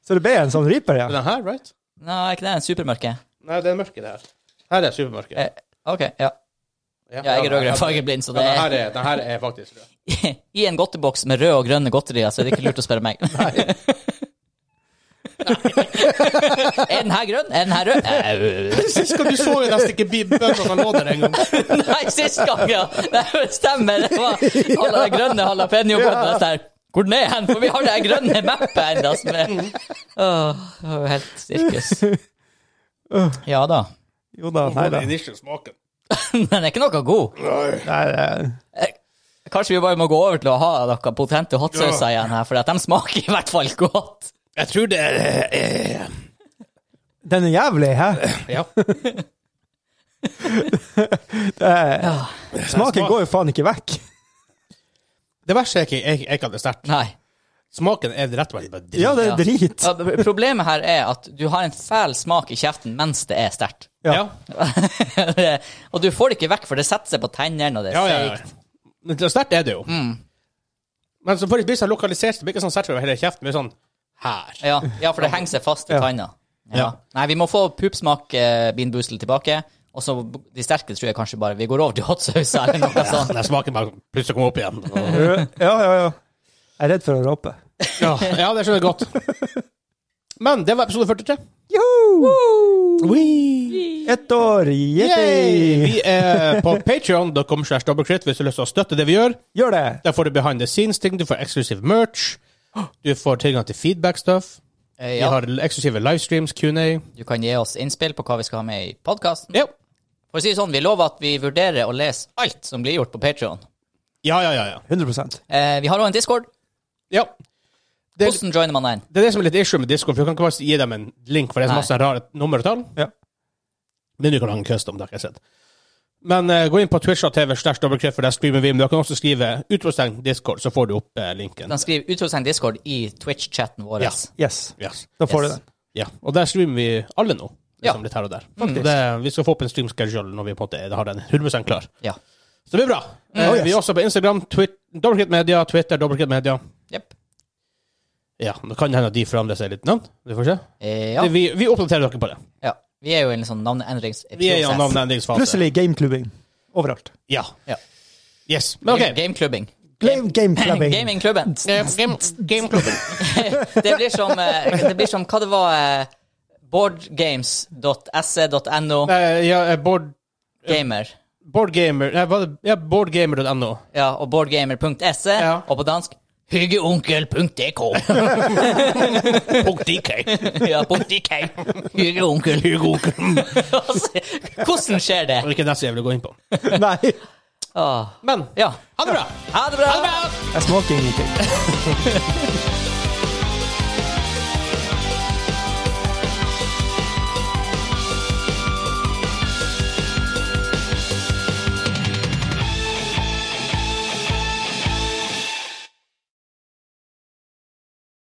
Så det ble en sånn reaper, ja. Den her, right? Nei, ikke det. Supermørke. Nei, det er mørke, det her. Her er supermørket. Eh, OK, ja. [laughs] Ja, jeg er rød-grønn fargeblind, så Ja, det den er her er, den her er faktisk rød. I en godteboks med røde og grønne godterier, så er det ikke lurt å spørre meg. [laughs] er den her grønn? Er den her rød? Eh, Sist gang du så jo nesten ikke bøndene lå der engang. Nei, sist gang, ja! Nei, det stemmer. Det var alle de grønne jalapeño-godtene der. Hvor den er hen? For vi har det her grønne mappet ennå. som Mm. er- Åh, det var jo helt sirkus. Ja da. Jo da, nei da. Initial smaken. Den er ikke noe god. Eh, Nei, det- eh, Kanskje vi bare må gå over til å ha noen potente hotsauser igjen her, for at de smaker i hvert fall godt. Jeg tror det er eh, Den er jævlig, hæ? Ja. Det er, smaken går jo faen ikke vekk. Det verste er ikke, er, er ikke at det er sterkt. Nei. Smaken er rett og slett bare dritt. Ja, det Ja. er drit. Ja, Problemet her er at du har en fæl smak i kjeften mens det er sterkt. [laughs] Ja. ja. og du får det ikke vekk, for det setter seg på tennene, og det er ja, ja, seigt. ja. Men det- sterkt er det jo. Men så blir det så lokalisert, det blir ikke sånn sterkt over hele kjeften, det blir sånn her. Ja, ja, for det henger seg fast i tanna. Ja. Ja. Nei, vi må få pupsmak eh, Bean Boozled tilbake. Og så de sterke tror jeg kanskje bare Vi går over til hotsaus eller noe sånt. Den smaken bare plutselig kommer opp igjen. Ja, ja, ja. Jeg er redd for å råpe. Ja, ja det skjønner jeg godt. Men det var episode 43. Joho! Ett år, Yay! yippee! Vi er på patreon.com slash dobbeltkritt hvis du har lyst til å støtte det vi gjør. Gjør det! Der får du behind the scenes-ting, du får exclusive merch, du får tilgang til feedback-stuff, Eh, vi ja, har eksklusive livestreams, Q&A. du kan gi oss innspill på hva vi skal ha med i podkasten. Ja. For å si det sånn, vi lover at vi vurderer å lese alt som blir gjort på Patreon Ja, ja, ja, ja. 100 Eh, vi har òg en Discord. ja. Det- Hvordan joiner man den? Det er det som er litt issue med Discord, for du kan ikke bare gi dem en link, for det er Nei. masse rare nummer og tall. Ja. Men du kan lage en custom, det har ikke jeg sett. Men eh, gå inn på Twitch og TV slash dobbeltkritt, for der streamer vi, men du kan også skrive utropstegn Discord, så får du opp eh, linken. Den skriver utropstegn Discord i Twitch-chatten vår. Ja. Yes, Yes. da får du Yes. den. Ja, og der streamer vi alle nå. Ja. Liksom Mm. litt her og der. Og det, vi skal få opp en stream schedule når vi på en måte er- har den 100 klar. Ja. Så det blir bra. Eh, Oh, yes. Vi er også på Instagram, Twitter, Dobbeltkritt Media, Twitter, Dobbeltkritt Media. Jepp. Ja, det kan hende at de forandrer seg litt navn. Vi får se. Eh, ja. Det- Vi, vi oppdaterer dere på det. ja. Vi er jo i en sånn navneendringsprosess. Vi er jo navneendringsfase. Plutselig gameklubbing overalt. Ja. Ja. Yes. Men OK. Gameklubbing. Game- [laughs] Gameklubbing. Gamingklubben. Gameklubben. [laughs] det blir som eh, Det blir som hva det var eh, E Boardgames.se.no ja, eh, board, Gamer. boardgamer Nei, hva er det? Ja, boardgamer.no. Ja, og boardgamer.se, Ja. E, og på dansk Hyggeonkel.dk. Punkt DK. [laughs] ja, .dk. Hyggeonkel. [laughs] Altså, Hvordan skjer det? Det er ikke det som jeg vil gå inn på. Nei, Ah, Men ja. ha det bra! Ha det bra! jeg smaker ingenting.